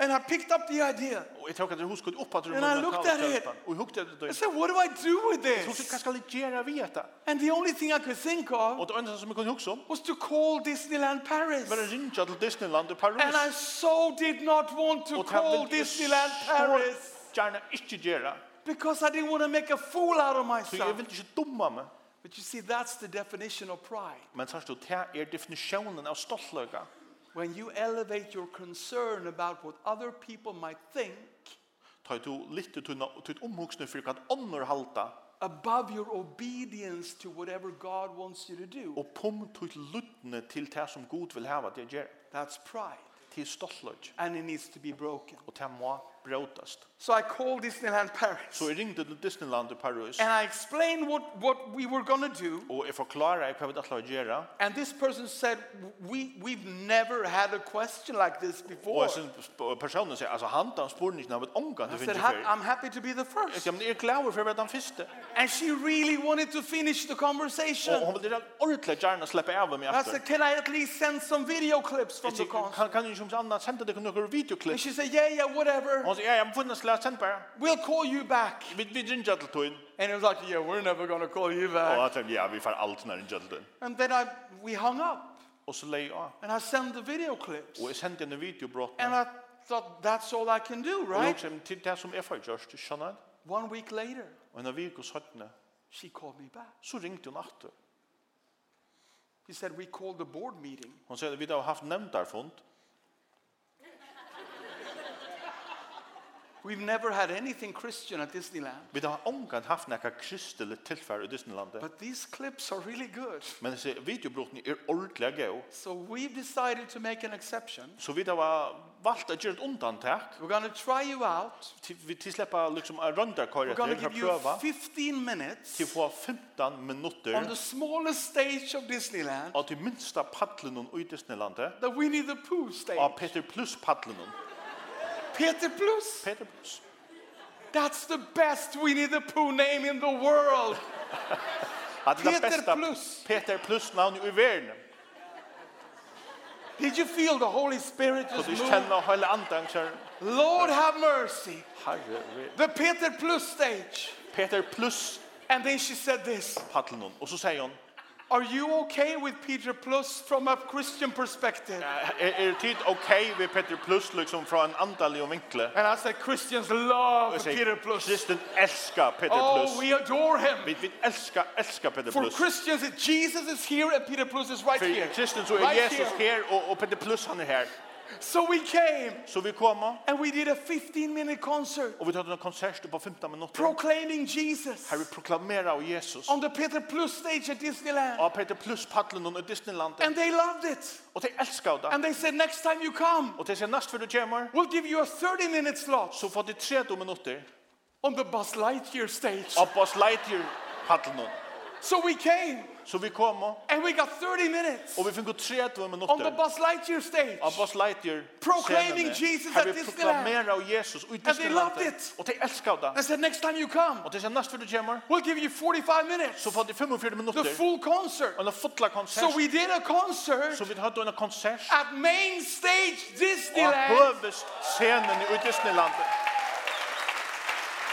B: And I picked up the idea.
C: Och jag tog att det hoskot upp att det är
B: And I
C: munna mental och
B: looked at it.
C: skrellspann. Och jag hukte att det
B: I
C: är.
B: said, what do I do with
C: Så hon säger,
B: this?
C: vad ska jag göra vid detta?
B: And the only thing I could think of
C: Och det enda som jag kunde huxa om
B: was to call Disneyland Paris.
C: um, var att ringa till Disneyland i Paris.
B: And I so did not want to
C: Och det här
B: call
C: vill jag
B: Disneyland
C: så
B: Paris
C: Gärna inte göra.
B: because I didn't want to make a fool out of
C: Så jag
B: myself.
C: vill inte dumma mig.
B: But you see, that's the definition of pride.
C: Men sagt du, det er definitionen av stoltløyga.
B: When you elevate your concern about what other people might think
C: Ta du litt til et omhugsne for hva ånder halta,
B: above your obedience to whatever God wants you to do,
C: og pum til luttne til det som Gud vil hava det gjør.
B: that's pride.
C: Til stoltløyga.
B: And it needs to be broken.
C: er Og det må bråtast.
B: So I called Disneyland
C: Så
B: Paris.
C: jeg ringde til Disneyland i Paris,
B: And I explained what, what we were going to do.
C: og jeg forklarer hva vi ætla å gjøre.
B: And this person said, we, We've never had a question like this
C: Og
B: before.
C: jeg synes, og personen sier, altså han da spør ikke når vi omgang
B: I
C: til
B: said,
C: finnes
B: "Ha-
C: før.
B: I'm happy to be the
C: Jeg
B: first.
C: sier, men jeg er glad for å være den første.
B: And she really wanted to finish the
C: Og
B: conversation.
C: han vil ordentlig gjerne slippe av meg
B: I
C: etter.
B: said, Can I at least send some video clips from
C: Jag
B: the
C: tycker,
B: concert?
C: kan kan ju som annat sända det några
B: And
C: videoklipp.
B: she said, Yeah, yeah, whatever.
C: Och så ja, jag funnits läst sen bara.
B: We'll call you back.
C: Vi vi ringar till tun.
B: And it was like, Yeah, we're never going to call you back.
C: Och att ja, vi får allt när ringar till tun.
B: And then I, we hung up
C: Och så lägger jag.
B: and I sent the video clips.
C: Och jag sände en videobrott.
B: And I thought, That's all I can do,
C: Och
B: right?
C: liksom till det som är för just skönad.
B: One week later,
C: Och när vi går sådana
B: she called me back.
C: så ringde hon åter.
B: She said, We called the board meeting.
C: Hon sa vi har haft nämnt där fond.
B: We've never had anything Christian at Disneyland.
C: Vi har ångan haft några kristeligt tillfälle i Disneyland.
B: But these clips are really good.
C: Men så videobrotten er är ordentliga gå.
B: So we've decided to make an exception.
C: Så vi har valt att göra ett undantag.
B: We're going to try you out.
C: Till- Vi tillsläpper liksom en runda
B: We're
C: kvar
B: going to
C: för
B: give
C: att
B: you
C: pröva.
B: 15 minutes
C: til få 15 minutter
B: on the smallest stage of Disneyland,
C: av til minsta paddelen i Disneylandet
B: the Winnie the Pooh stage.
C: av Peter Plus paddelen.
B: Peter Plus.
C: Peter Plus.
B: That's the best Winnie the Pooh name in the world.
C: Hade det
B: Peter
C: bästa
B: Plus.
C: er Peter Plus navn i verden.
B: Did you feel the Holy Spirit
C: Så
B: just
C: du
B: move?
C: kjenner hele andan kjær.
B: Lord have mercy.
C: Herre, ve-
B: The Peter Plus stage.
C: Peter Plus
B: And then she said this
C: paddelen. Og så sier hon,
B: Are you okay with Peter Plus from a Christian perspective?
C: er, er tid ok ved Peter Plus liksom fra en andalig og vinkle?
B: And I said, Christians love
C: Og jeg
B: Peter
C: sier,
B: Plus.
C: Kristen elskar Peter
B: Oh,
C: Plus.
B: we adore him.
C: Vi, vi elskar, elskar Peter
B: For
C: Plus.
B: Christians, it- Jesus is here and Peter Plus is right here.
C: For Kristen så er
B: Right
C: Jesus
B: here.
C: her, og, og Peter Plus han er her.
B: So we came
C: Så vi kommer,
B: and we did a 15 minute concert
C: og vi tar en konsert på 15 minutter.
B: proclaiming Jesus
C: Herre, vi proklamerer av Jesus.
B: on the Peter Plus stage at Disneyland.
C: Av Peter Plus paddelen under Disneyland.
B: And they loved it.
C: Og de elsker det.
B: And they said, Next time you come,
C: Og de sier, næst før du kommer,
B: we'll give you a 30 minute slot
C: så får de 30 minutter
B: on the Buzz Lightyear stage.
C: av Buzz Lightyear paddelen.
B: So we came
C: Så vi kommer,
B: and we got 30 minutes
C: og vi finner 30
B: on the
C: minutter
B: Buzz Lightyear stage.
C: av Buzz Lightyear
B: Proclaiming
C: scenene.
B: Jesus
C: Herre,
B: at
C: vi
B: Disneyland.
C: proklamerer av Jesus i Disneyland.
B: loved it.
C: Og de elsker
B: I
C: det.
B: said, Next time you come,
C: Og de sier, næst før du kommer,
B: we'll give you 45 minutes,
C: så får de 45
B: the
C: minutter
B: full concert.
C: av en fotla
B: So
C: konsert.
B: we did a concert
C: Så vi har en konsert
B: at main stage
C: av
B: Disneyland
C: høvest scenen i Disneyland.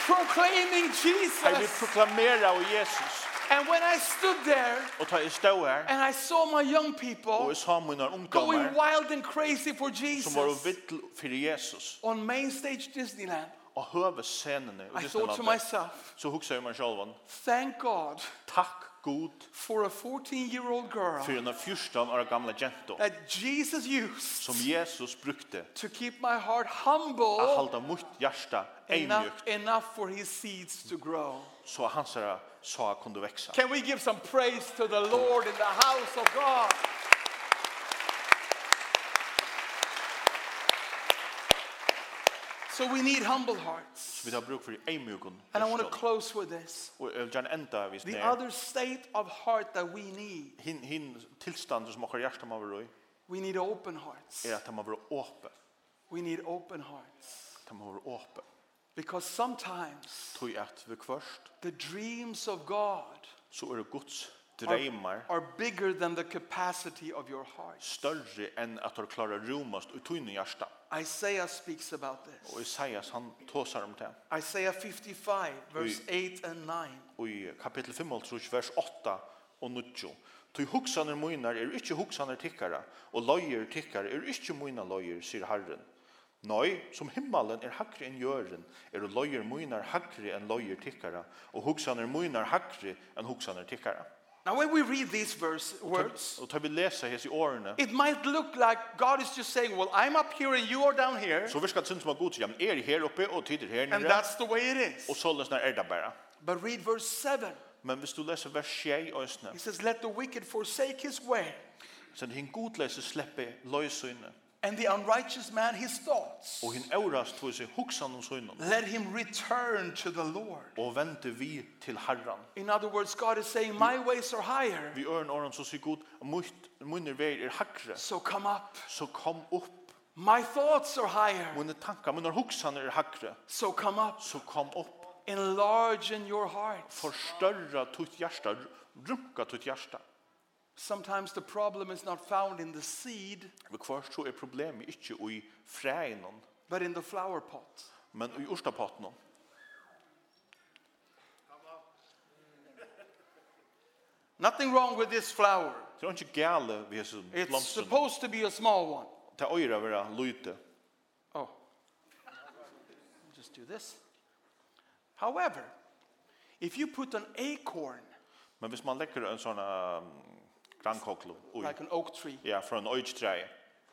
B: proclaiming
C: Herre, vi
B: Jesus.
C: proklamerer av Jesus.
B: And when I stood there
C: Og ta i stå her,
B: and I saw my young
C: og
B: people
C: jeg sa mine
B: going
C: ungdommer
B: wild and crazy for
C: som var
B: Jesus
C: vittl for Jesus
B: on main stage Disneyland,
C: og høve scenene i
B: I thought to
C: Disneylandet,
B: myself,
C: så husker jeg meg selv
B: thank God
C: takk god
B: for a 14 year old girl
C: för en 14 år gamla jento
B: that Jesus used
C: som Jesus brukte
B: to keep my heart
C: att
B: humble
C: hålla mitt hjärta
B: enough,
C: enmjukt
B: enough for his seeds to grow.
C: så hans ära sa kunde växa.
B: Can we give some praise to the Lord in the house of God? So we need humble hearts.
C: Vi tar bruk för enmjukon.
B: And I want to close with this.
C: Och jag vill gärna ända vid
B: The
C: det.
B: other state of heart that we need,
C: Hin, hin tilstanden som åker hjärta man vill i
B: we need open hearts.
C: är att man vill åpe.
B: We need open hearts.
C: Att man vill åpe.
B: Because sometimes
C: Tog att vi först
B: the dreams of God
C: så är det Guds
B: are,
C: drömmar
B: are bigger than the capacity of your heart.
C: större än att de klarar romast och tunna hjärta.
B: Isaiah speaks about
C: Och
B: this.
C: Isaias han tåsar om det.
B: Isaiah 55, verse 8 and 9.
C: Och i kapitel 5, vers 8 och 9. Ty hugsaner munar er ikkje hugsaner tikkara, og løyer tikkara er ikkje munar løyer, sier Herren. Nei, som himmelen er hakre enn jøren, er løyer munar hakre enn løyer tikkara, og hugsaner munar hakre enn hugsaner tikkara.
B: Now, when we read these verse, words,
C: Og tar vi lesa hese i årene,
B: it might look like God is just saying, Well, I'm up here and you are down here.
C: så virkar det synd som er god, ja, men er her oppe og tider her
B: And
C: nere,
B: that's the way it
C: og
B: is.
C: således er det bare.
B: But read verse 7.
C: Men hvis du leser vers 6 og østene,
B: He says, Let the wicked forsake his way,
C: så er det hinn godlese sleppe løysynet,
B: and the unrighteous man his thoughts.
C: og hinn eurast tog seg hugsan um om synen,
B: Let him return to the Lord.
C: og vente vi til Herren.
B: In other words, God is saying, My ways are higher,
C: Vi øren åren så sier god, munner veier er hakre,
B: so come up.
C: så kom opp.
B: My thoughts are higher,
C: Munner tankar, munner hoksan er hakre,
B: so come up.
C: så kom opp.
B: Enlarge in your heart.
C: Forstørra tutt hjärsta, runka tutt hjärsta.
B: Sometimes the problem is not found in the seed,
C: Vi kvarst så er problemet ikkje i fræinen,
B: but in the flower pot.
C: men i orstapaten.
B: Nothing wrong with this flower.
C: Det er ikke gale vi hese
B: It's
C: blomsten.
B: supposed to be a small one.
C: Det er øyre vera lyte.
B: Oh. Just do this. However, if you put an acorn,
C: Men hvis man legger en sånn um, grankoklo, ui,
B: like an oak tree,
C: ja, fra en øytreie,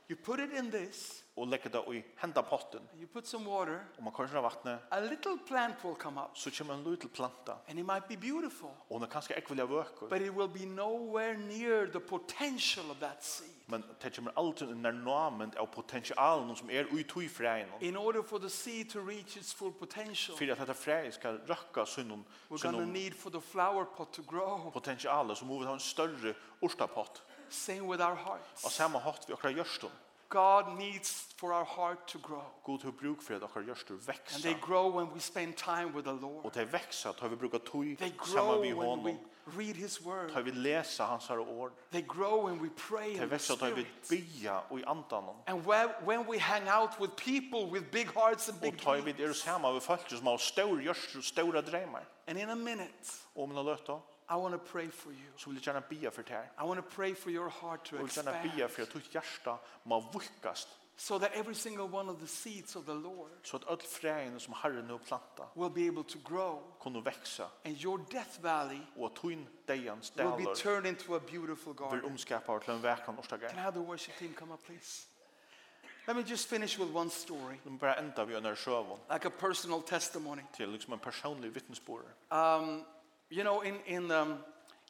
B: you put it in this,
C: og legger det i henda potten,
B: you put some water,
C: og man korser av vattnet,
B: a little plant will come up.
C: så kommer en lytel planta,
B: And it might be beautiful,
C: og hun er kanskje ikke vilja vøker,
B: but it will be nowhere near the potential of that seed.
C: men det kommer alltid under namen av potentialen som er ui tui freien,
B: In order for the seed to reach its full potential,
C: for at dette freien skal røkka sunnum,
B: we're going to
C: sunnum
B: need for the flower pot to grow.
C: potentialet, så må vi ha en større orstapott,
B: Same with our
C: og
B: hearts.
C: samme hatt vi okkar gjørstun.
B: God needs for our heart to grow.
C: God har bruk for at okkar gjørstur
B: And
C: veksa,
B: they grow when we spend time with the Lord.
C: og det veksa, tar vi bruka tui
B: They
C: saman
B: grow
C: vi
B: when we
C: honom,
B: read His Word.
C: tar vi lesa hans herre år,
B: They grow when we pray
C: det
B: in the
C: veksa, tar vi
B: Spirit.
C: bia og i andanon,
B: And where, when we hang out with people with big hearts and
C: og
B: big
C: tar vi
B: dreams.
C: er saman vi folk som har stor gjørstur, stora dreimar,
B: And in a minute,
C: og om noe løtta,
B: I want to pray for you.
C: så vil jeg gjerne bia for det her.
B: I want to pray for your heart to
C: Og vil gjerne
B: expand
C: bia for at ditt hjärsta må vukkast,
B: so that every single one of the seeds of the Lord
C: så at öll fræin som Herren har planta
B: will be able to grow
C: kunne växa
B: and your death valley
C: og at tuin deians
B: will be
C: dalar
B: turned into a beautiful
C: vil
B: garden.
C: omskapa til en verkan
B: Can
C: årstagar.
B: I have the worship team come up, please? Let me just finish with one story,
C: Nu bara enda vi under sjövon
B: like a personal testimony.
C: til liksom en personlig vittnesbord.
B: Um, you know, in, in, um,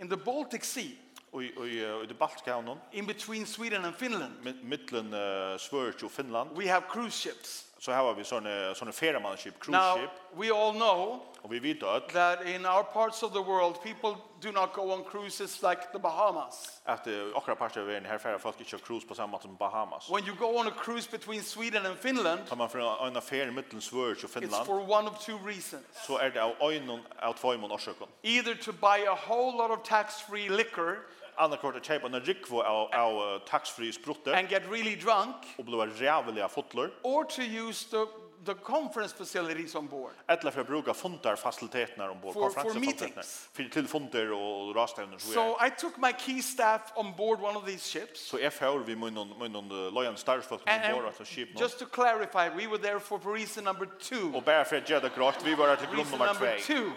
B: in the Baltic Sea,
C: Og i, og i, og i det baltiska havnen,
B: in between Sweden and Finland,
C: mi- mittlen uh, Sverige og Finland,
B: we have cruise ships.
C: så her har vi sånne, sånne feriemanship, cruise
B: Now,
C: ship,
B: we all know
C: og vi vet öll
B: that in our parts of the world, people do not go on cruises like the Bahamas.
C: at uh, akkurat parter av verden her færa folk ikke har cruise på samme måte som Bahamas.
B: When you go on a cruise between Sweden and Finland,
C: Tar man fra en affär mittlen Sverige og
B: it's
C: Finland,
B: for one of two reasons.
C: så er det av øynene av tvøymon årsøkken.
B: Either to buy a whole lot of tax free liquor
C: Andra kort er kjeipa en rikvo av, av uh, taxfree sprutter
B: and get really drunk,
C: og blå rævelig av fotler,
B: or to use the, the conference facilities on board.
C: etla for å bruka fundarfaciliteten her ombord,
B: For- for
C: konferansefaciliteten,
B: meetings.
C: for til funder og rastevner så
B: So
C: er.
B: I took my key staff on board one of these ships.
C: Så jeg får vi munnen, munnen lojan starfolk
B: And,
C: ombord
B: and
C: etter skipen.
B: just to clarify, we were there for reason number two.
C: Og bare for å gjøre det grått, vi var til grunn
B: Reason
C: nummer
B: number
C: 2.
B: two.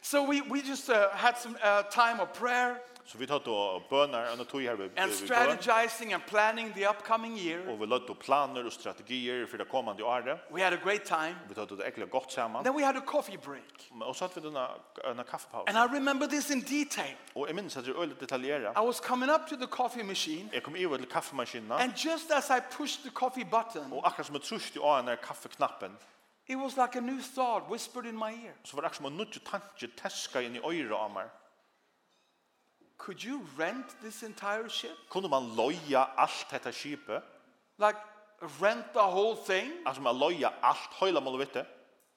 B: So we, we just uh, had some uh, time of prayer
C: Så vi tar då bönar och tog här vi
B: and
C: vi går.
B: strategizing and planning the upcoming year.
C: Och vi lade då planer och strategier för det kommande året.
B: We had a great time.
C: Vi tar då det äckliga gott samman.
B: Then we had a coffee break.
C: Men- Och så hade vi den här, den här kaffepaus.
B: And I remember this in detail.
C: Och jag minns att det är lite detaljerat.
B: I was coming up to the coffee machine,
C: Jag kom över till kaffemaskinen.
B: and just as I pushed the coffee button,
C: Och akkurat som jag trusste av den här kaffeknappen.
B: it was like a new thought whispered in my ear.
C: Så var det akkurat som en nuttig tanke täska in i öra av mig.
B: Could you rent this entire ship?
C: Kunde man loja allt detta skipet?
B: Like, rent the whole thing?
C: Alltså man loja allt hela målvete.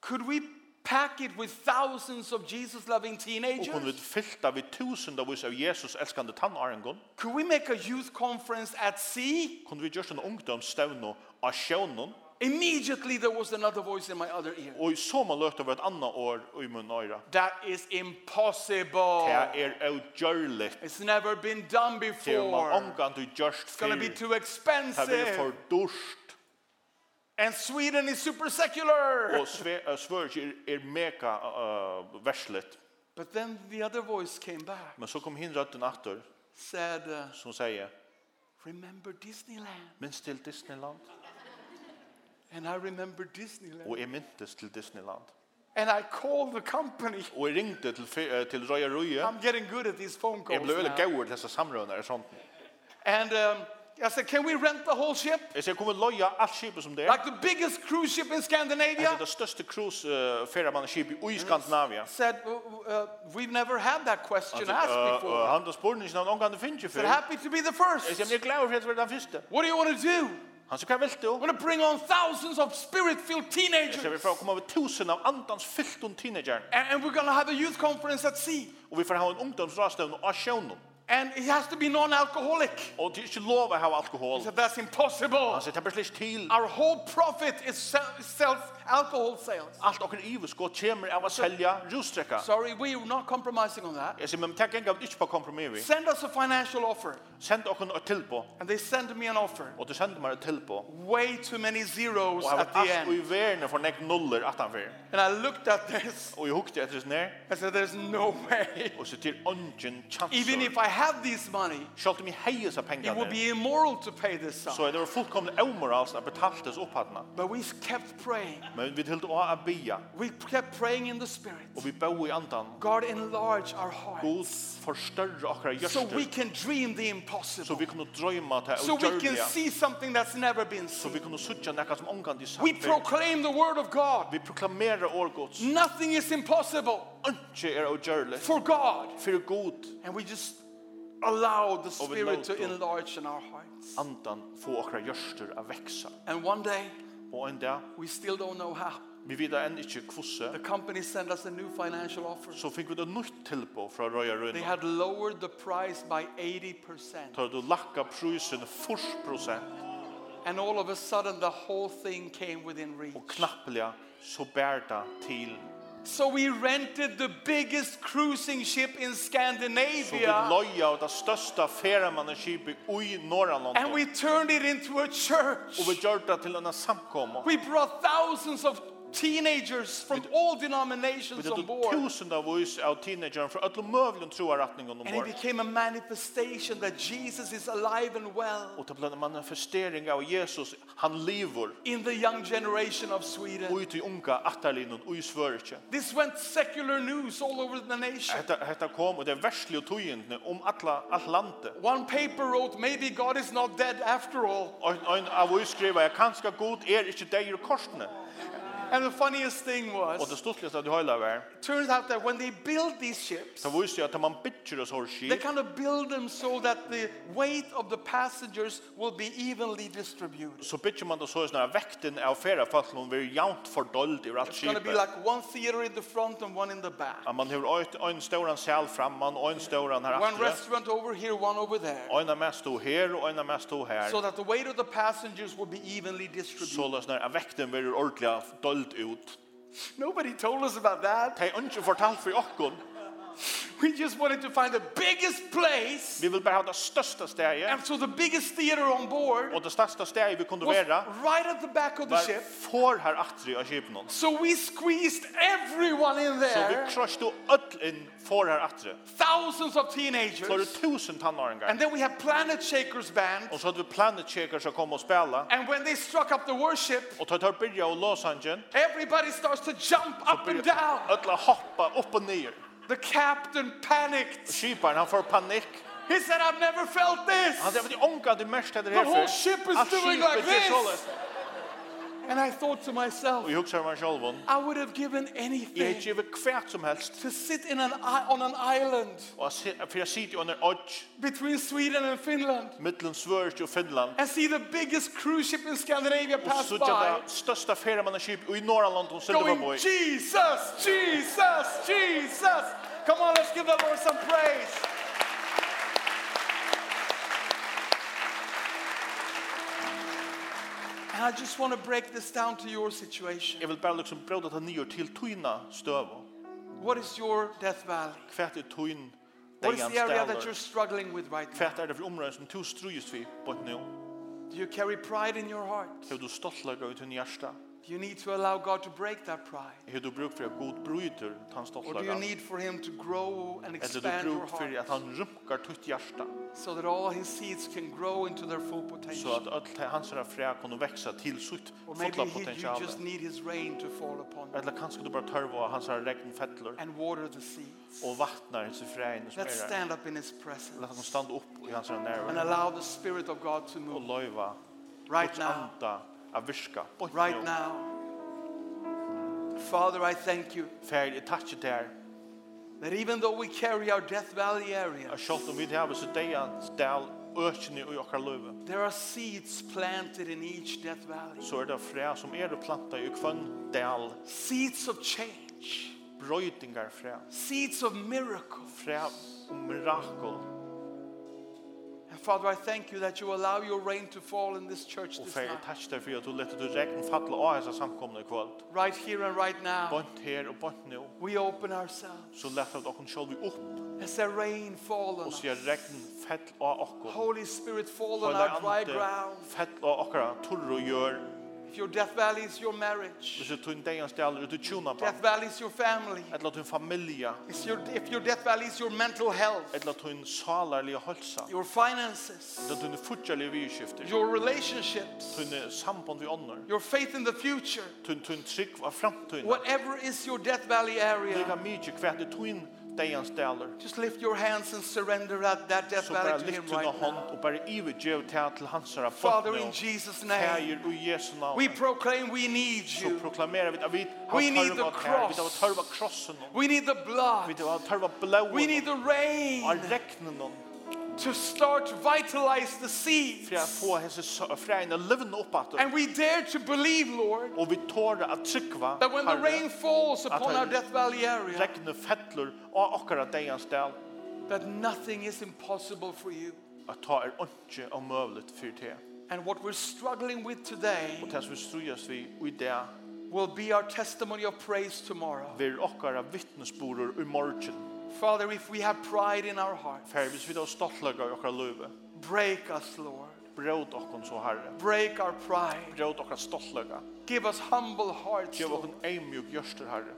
B: Could we pack it with thousands of Jesus loving
C: Och kunde vi
B: teenagers?
C: fyllta vid tusendavis av Jesus älskande tannarengon.
B: Could we make a youth conference at sea?
C: Kunde vi gjort en ungdomsstövn av sjånen.
B: Immediately there was another voice in my other ear.
C: Och i så man löt över ett annat år i mun öra.
B: That is impossible.
C: Det är ogörligt.
B: It's never been done
C: Det är man
B: before.
C: omgående gjort
B: It's going to be
C: för.
B: too
C: Det blir
B: expensive.
C: för dorst.
B: And Sweden is super secular.
C: Och Sve- eh, Sverige är, är mega uh, värsligt.
B: But then the other voice came back,
C: Men så kom hin rötten åter
B: said, uh,
C: som säger
B: Remember Disneyland?
C: Minns till Disneyland.
B: And I remember Disneyland.
C: Och jag minns till Disneyland.
B: And I called the company.
C: Och jag ringde till, fe- eh, till Röja Röja.
B: I'm getting good at these phone
C: Jag
B: calls.
C: blev väldigt
B: now.
C: gaur till dessa samröner och sånt.
B: And um, I said, can we rent the whole ship?
C: Jag säger, kommer loja allt skipet som det er." är.
B: Like the biggest cruise ship in
C: Det är
B: Scandinavia?
C: det största cruise-färamannaskipet i eh, Skandinavia.
B: Said, "Uh, uh, we've never had that question asked
C: Eh, eh,
B: before.
C: Han då spurning sin omgång det finns ju för.
B: Said,
C: Jag
B: happy to be the first.
C: säger, men jag är glad för att vara den första.
B: What do you want to do?
C: Han så kan väl
B: I
C: då.
B: want to bring on thousands of spirit-filled
C: Jag
B: teenagers.
C: säger, vi får komma över tusen av andans fyllt om teenagern.
B: And, and we're going to have a youth conference at sea.
C: Och vi får ha en ungdomsrastövn och sjånen.
B: And it has to be non-alcoholic.
C: Och det är inte er lov att ha
B: He
C: alkohol.
B: said, that's impossible.
C: Han säger, det blir slik till.
B: Our whole profit is se- self-alcohol sales.
C: Allt och iverskott kommer av att sälja rusträcka.
B: Sorry, we're not compromising on that.
C: Jag säger, men tack en gång inte på kompromiss. vi.
B: Send us a financial offer.
C: Sänd och ett till på.
B: And they sent me an offer.
C: Och du sänder mig ett till på.
B: Way too many zeros
C: Och jag har
B: at the
C: allt och i
B: end.
C: världen från ägg nollor att han
B: And I looked at this.
C: Och jag hukte efter sin ner.
B: I said, there's no way.
C: Och så till ungen
B: Even if
C: chanser.
B: I have this money,
C: Sjalt om jag hejer sig
B: it would
C: pengarna.
B: be immoral to pay this
C: Så
B: sum.
C: är det var fullkomligt omoralskt att betalt dess upphattna.
B: But we kept praying.
C: Men vi till att att bia.
B: We kept praying in the Spirit.
C: Och vi bor i andan.
B: God enlarge our heart
C: God förstörre åkra
B: so we
C: görster.
B: can dream the
C: Så
B: impossible.
C: vi kunde drömma till
B: So we can
C: utgörliga.
B: see something that's never been
C: Så vi
B: seen.
C: kunde suttja näka som omgång i
B: We
C: samfär.
B: proclaim the word of God.
C: Vi proklamerar årgods.
B: Nothing is impossible
C: Anke er utgörligt.
B: for God.
C: För god
B: And we just allow the
C: Och vi
B: Spirit to
C: låter-
B: enlarge in our hearts.
C: andan få okra gjørster at veksa.
B: And one day,
C: Og en dag,
B: we still don't know how.
C: vi vet enn ikke kvosse,
B: The company sent us a new financial offer.
C: så fikk vi det nytt tilbå fra Røya
B: They
C: Røyna.
B: had lowered the price by 80%.
C: Tar du lakka prusen 40%
B: And all of a sudden, the whole thing came within reach.
C: og knapplega så bær det til.
B: So we rented the biggest cruising ship in
C: Så vi
B: Scandinavia.
C: loja av det største feremanneskipet i
B: And we
C: Norrland.
B: turned it into a church.
C: Og vi gjør det til en samkomma.
B: We brought thousands of teenagers from all
C: Vi
B: denominations
C: tar
B: on
C: du
B: board.
C: tusen av oss av teenageren fra ötlo mövlen troa ratningen om
B: And it
C: vår.
B: became a manifestation that Jesus is alive and well
C: Og det ble en manifestering av Jesus, han lever,
B: in the young generation of
C: og
B: Sweden.
C: ut i unga atterlinjen, og i svørkje.
B: This went secular news all over the nation.
C: Hetta hetta kom og er det verslige tøyendene om um alla alt landet.
B: One paper wrote, Maybe God is not dead after all.
C: Og ein av oss skriva jeg kanskje god er ikkje deg i korsene.
B: And the funniest thing
C: Og det
B: was,
C: stuttligaste at du høyla var,
B: it turns out that when they build these ships,
C: så visste jeg at man bytjer oss hår
B: they
C: skip,
B: kind of build them so that the weight of the passengers will be evenly distributed.
C: så bytjer man det så sånn at vekten av færa fast noen vil jaunt fordølt i alt
B: It's going to be
C: skipet.
B: like one theater in the front and one in the back.
C: At man hever ein stauran sel framman, ein stauran her
B: One
C: atre,
B: restaurant over here, one over there.
C: ein av mest to her og ein av mest to her.
B: So that the weight of the passengers will be evenly distributed.
C: Så løsner at vekten vil ordentlig dølt ut.
B: Nobody told us about that.
C: Det er ikke fortalt for okkon.
B: We just wanted to find the biggest place.
C: Vi vill bara ha det största steget.
B: And so the biggest theater on board
C: Och det största steget vi kunde
B: was
C: vara
B: right at the back of the
C: var
B: ship.
C: får här attri av skipen.
B: So we squeezed everyone in
C: Så vi
B: there.
C: krossade öll in får här attri.
B: Thousands of
C: Så er det
B: teenagers.
C: tusen
B: And
C: tannåringar.
B: then we had Planet Shakers band.
C: Och så hade vi planet checker som kom och spela.
B: And when they struck up the worship,
C: Och tar tar börja och lås hangen.
B: everybody starts to jump up and down.
C: Öll hoppa upp och ner.
B: The captain panicked.
C: Skiparen han får panik.
B: He said, I've never felt
C: Han säger
B: this.
C: att det ångar det mest det här
B: The whole ship is
C: Allt
B: doing
C: Ah, skipet
B: like
C: är
B: this.
C: således.
B: And I thought to myself,
C: Och jag huxar mig själv.
B: I would have given
C: Jag har
B: anything
C: givit kvärt som helst.
B: to sit in an, i- on an island
C: Och jag ser- för jag sitter under odds.
B: between Sweden and Finland
C: Mittlen Sverige och Finland.
B: and see the biggest cruise ship in Scandinavia
C: Och
B: pass
C: så
B: by.
C: det största färdmannaskip i norra London
B: Going,
C: Silverboy.
B: Jesus, Jesus, Jesus. Come on, let's give the Lord some praise. And I just want to break this down to your situation.
C: Jag vill bara liksom bråda ta nyår till tøyna stöv.
B: What is your death valley?
C: Kvärt är tøyn
B: What is
C: dejans
B: the area that you're
C: ställer.
B: struggling with right now?
C: Kvärt är det för områden som tog strujus vi på ett nu.
B: Do you carry pride in your heart?
C: Hur du stolt lagar ut en hjärsta.
B: Do you need to allow God to break that pride?
C: Hur du bruk för att god bryter tan stolt
B: Or do you
C: lagar.
B: need for Him to grow and
C: Eller
B: expand
C: du
B: your
C: bruk för att
B: heart
C: han rumpar tutt hjärsta.
B: so that all His seeds can grow into their full
C: Så att
B: potential?
C: allt hans här frä kan växa till sitt
B: Or
C: fulla
B: maybe he, you
C: potential.
B: just need His rain to fall upon you
C: Eller kanske du bara törva hans här regn fettler
B: and water the seeds.
C: och vattnar hans frä som
B: Let's
C: är där.
B: stand up in His
C: Låt honom
B: presence
C: stanna upp i hans här
B: and
C: närvaro
B: allow the Spirit of God to
C: och
B: move
C: löjva
B: right
C: Guds
B: now.
C: anda av virka. Bort
B: Right
C: nu.
B: now. Father, I thank you
C: Fær, jeg takker til her.
B: that even though we carry our Death Valley area,
C: Jeg skjølt om vi til her, så det er del økene i okkar løyve.
B: there are seeds planted in each Death Valley,
C: Så er det fræ som er planta i kvann del
B: seeds of change,
C: brøytingar fræ.
B: seeds of miracle.
C: Fræ om mirakel.
B: And Father, I thank you that you allow your rain to fall in this church
C: Og
B: this
C: fær,
B: night.
C: jeg takker til for at du lette du regn fatle av hans samkomne i kvöld.
B: Right here and right now,
C: Bort her og bort nå.
B: we open ourselves.
C: Så lette vi okken sjálf vi opp.
B: As the rain fall on
C: Og
B: us.
C: så er regn fett av okken.
B: Holy Spirit, fall on
C: Høyla
B: our dry
C: ande
B: ground.
C: fett av okkara torr og gjør.
B: If your death valley is your marriage,
C: Hvis du tog en degens del ut i tjona på.
B: death valley is your family.
C: Eller at du familie.
B: It's your, if your death valley is your mental health,
C: Eller at hun salarlige hølsa.
B: your finances,
C: Det tunne fortjale vidskifter.
B: your relationships,
C: Tunne eh, samband vi ånder.
B: your faith in the future,
C: Tunne tunne trygg av framtiden.
B: whatever is your death valley area,
C: Liga mykje kvært i tunn deians daler.
B: just lift your hands and surrender that, that death
C: Så bara
B: valley to Him
C: lyft tunne
B: er right
C: hånd
B: now.
C: og bare ive djev til til hans herra
B: Father, in Jesus' name,
C: Fægir og Jesu
B: we
C: navn.
B: proclaim we need
C: Så
B: you.
C: proklamerar vi at vi
B: We need
C: har
B: the
C: tørva her. Vi har
B: cross.
C: tørva krossen.
B: We need the
C: Vi
B: blood.
C: har tørva
B: We need
C: blåen.
B: the rain
C: Og regnen.
B: to start to vitalize the
C: For jeg
B: seeds.
C: får hese frægna livn opp at.
B: And we dare to believe, Lord,
C: Og vi tåra at trykva.
B: that when the rain falls upon
C: Herre.
B: our Death Valley area,
C: regnet fettler og okkara deians del.
B: that nothing is impossible for you.
C: at ta er ikke omøvlet for det.
B: And what we're struggling with today
C: Og til vi strøyes vi i det,
B: will be our testimony of praise tomorrow.
C: vil okkara vittnesborer i morgen.
B: Father, if we have pride in our heart,
C: For hvis vi da stoltlager i okkara løyve,
B: break us, Lord.
C: brød okkon så herre.
B: Break our pride.
C: Brød okkara stoltlager.
B: Give us humble hearts,
C: Gjev
B: Lord.
C: okkon eimjuk gjørster herre.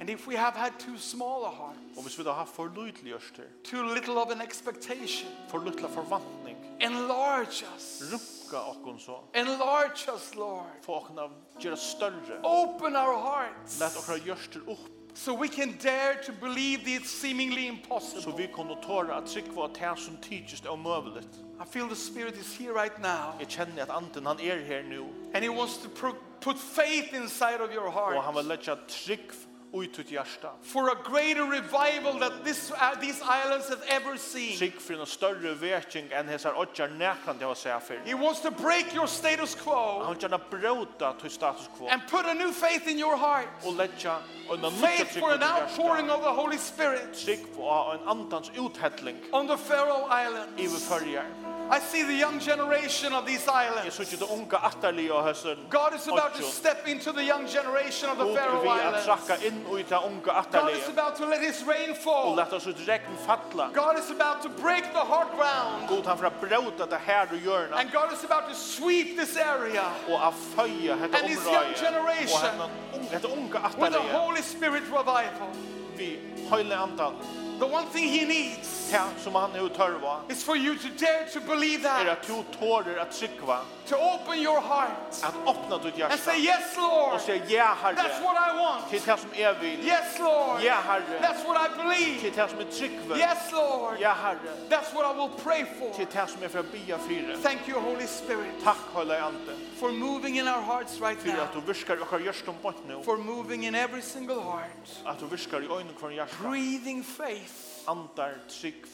B: And if we have had too small a heart,
C: Og hvis vi da har for lydelig gjørster,
B: too little of an expectation,
C: for lydelig forvantning,
B: enlarge us.
C: rumka okkon så.
B: Enlarge us, Lord.
C: Få okkon av gjøre større.
B: Open our hearts
C: Let okkara gjørster opp,
B: so we can dare to believe the seemingly
C: så
B: impossible.
C: vi kunne tåre at trykva at det som tidsist er omøvlet.
B: I feel the Spirit is here right now.
C: Jeg kjenner at anden han er her nå,
B: And he wants to pro- put faith inside of your
C: og han
B: heart
C: vil letja trygg ut ut hjärsta.
B: for a greater revival that this, uh, these islands have ever seen.
C: Trygg för en större väcking än hesar åtjar näkan det har säga för.
B: He wants to break your status quo
C: Han gärna bråta till status quo
B: and put a new faith in your heart.
C: och lägga en nytt
B: Faith
C: trygg
B: for an outpouring
C: ut
B: of the Holy Spirit
C: Trygg på en andans uthättling
B: on the Faroe Islands.
C: överförjar.
B: I see the young generation of these
C: Jeg
B: islands.
C: sykje det unga atterlig og høsten.
B: God is about to
C: Ocho.
B: step into the young generation of the
C: God er
B: Faroe
C: vi at trakka
B: Islands.
C: inn og i det unga
B: God is
C: atterlig.
B: about to let his rain
C: Og
B: fall.
C: lett oss ut regn falla.
B: God is about to break the hard ground.
C: God han fra brauta det her og hjørna.
B: And God is about to sweep this area
C: Og a føya hette
B: And his young
C: omrøye. Og
B: generation.
C: henne unga- hette unga
B: with a
C: atterlig.
B: Holy Spirit revival.
C: Vi høyle andan.
B: The one thing he needs
C: Her som han er tørva.
B: is for you to dare to believe
C: Er
B: that,
C: at du tårer at trykva.
B: to open your heart
C: At åpna ditt
B: and
C: hjärsta.
B: say, Yes, Lord,
C: Og sier ja
B: that's
C: herre.
B: what I want.
C: Til det som jeg vil.
B: Yes, Lord,
C: Ja herre.
B: that's what I believe.
C: Til det som er trykva.
B: Yes, Lord,
C: Ja herre.
B: that's what I will pray for.
C: Til det som er fra bia fyre.
B: Thank you, Holy Spirit,
C: Takk høyle ante.
B: for moving in our hearts right
C: Fyrir at du
B: now,
C: virkar okkar hjørstum bort nu.
B: for moving in every single heart,
C: At du virkar i øynene kvar hjärsta.
B: breathing faith
C: Andar trygg.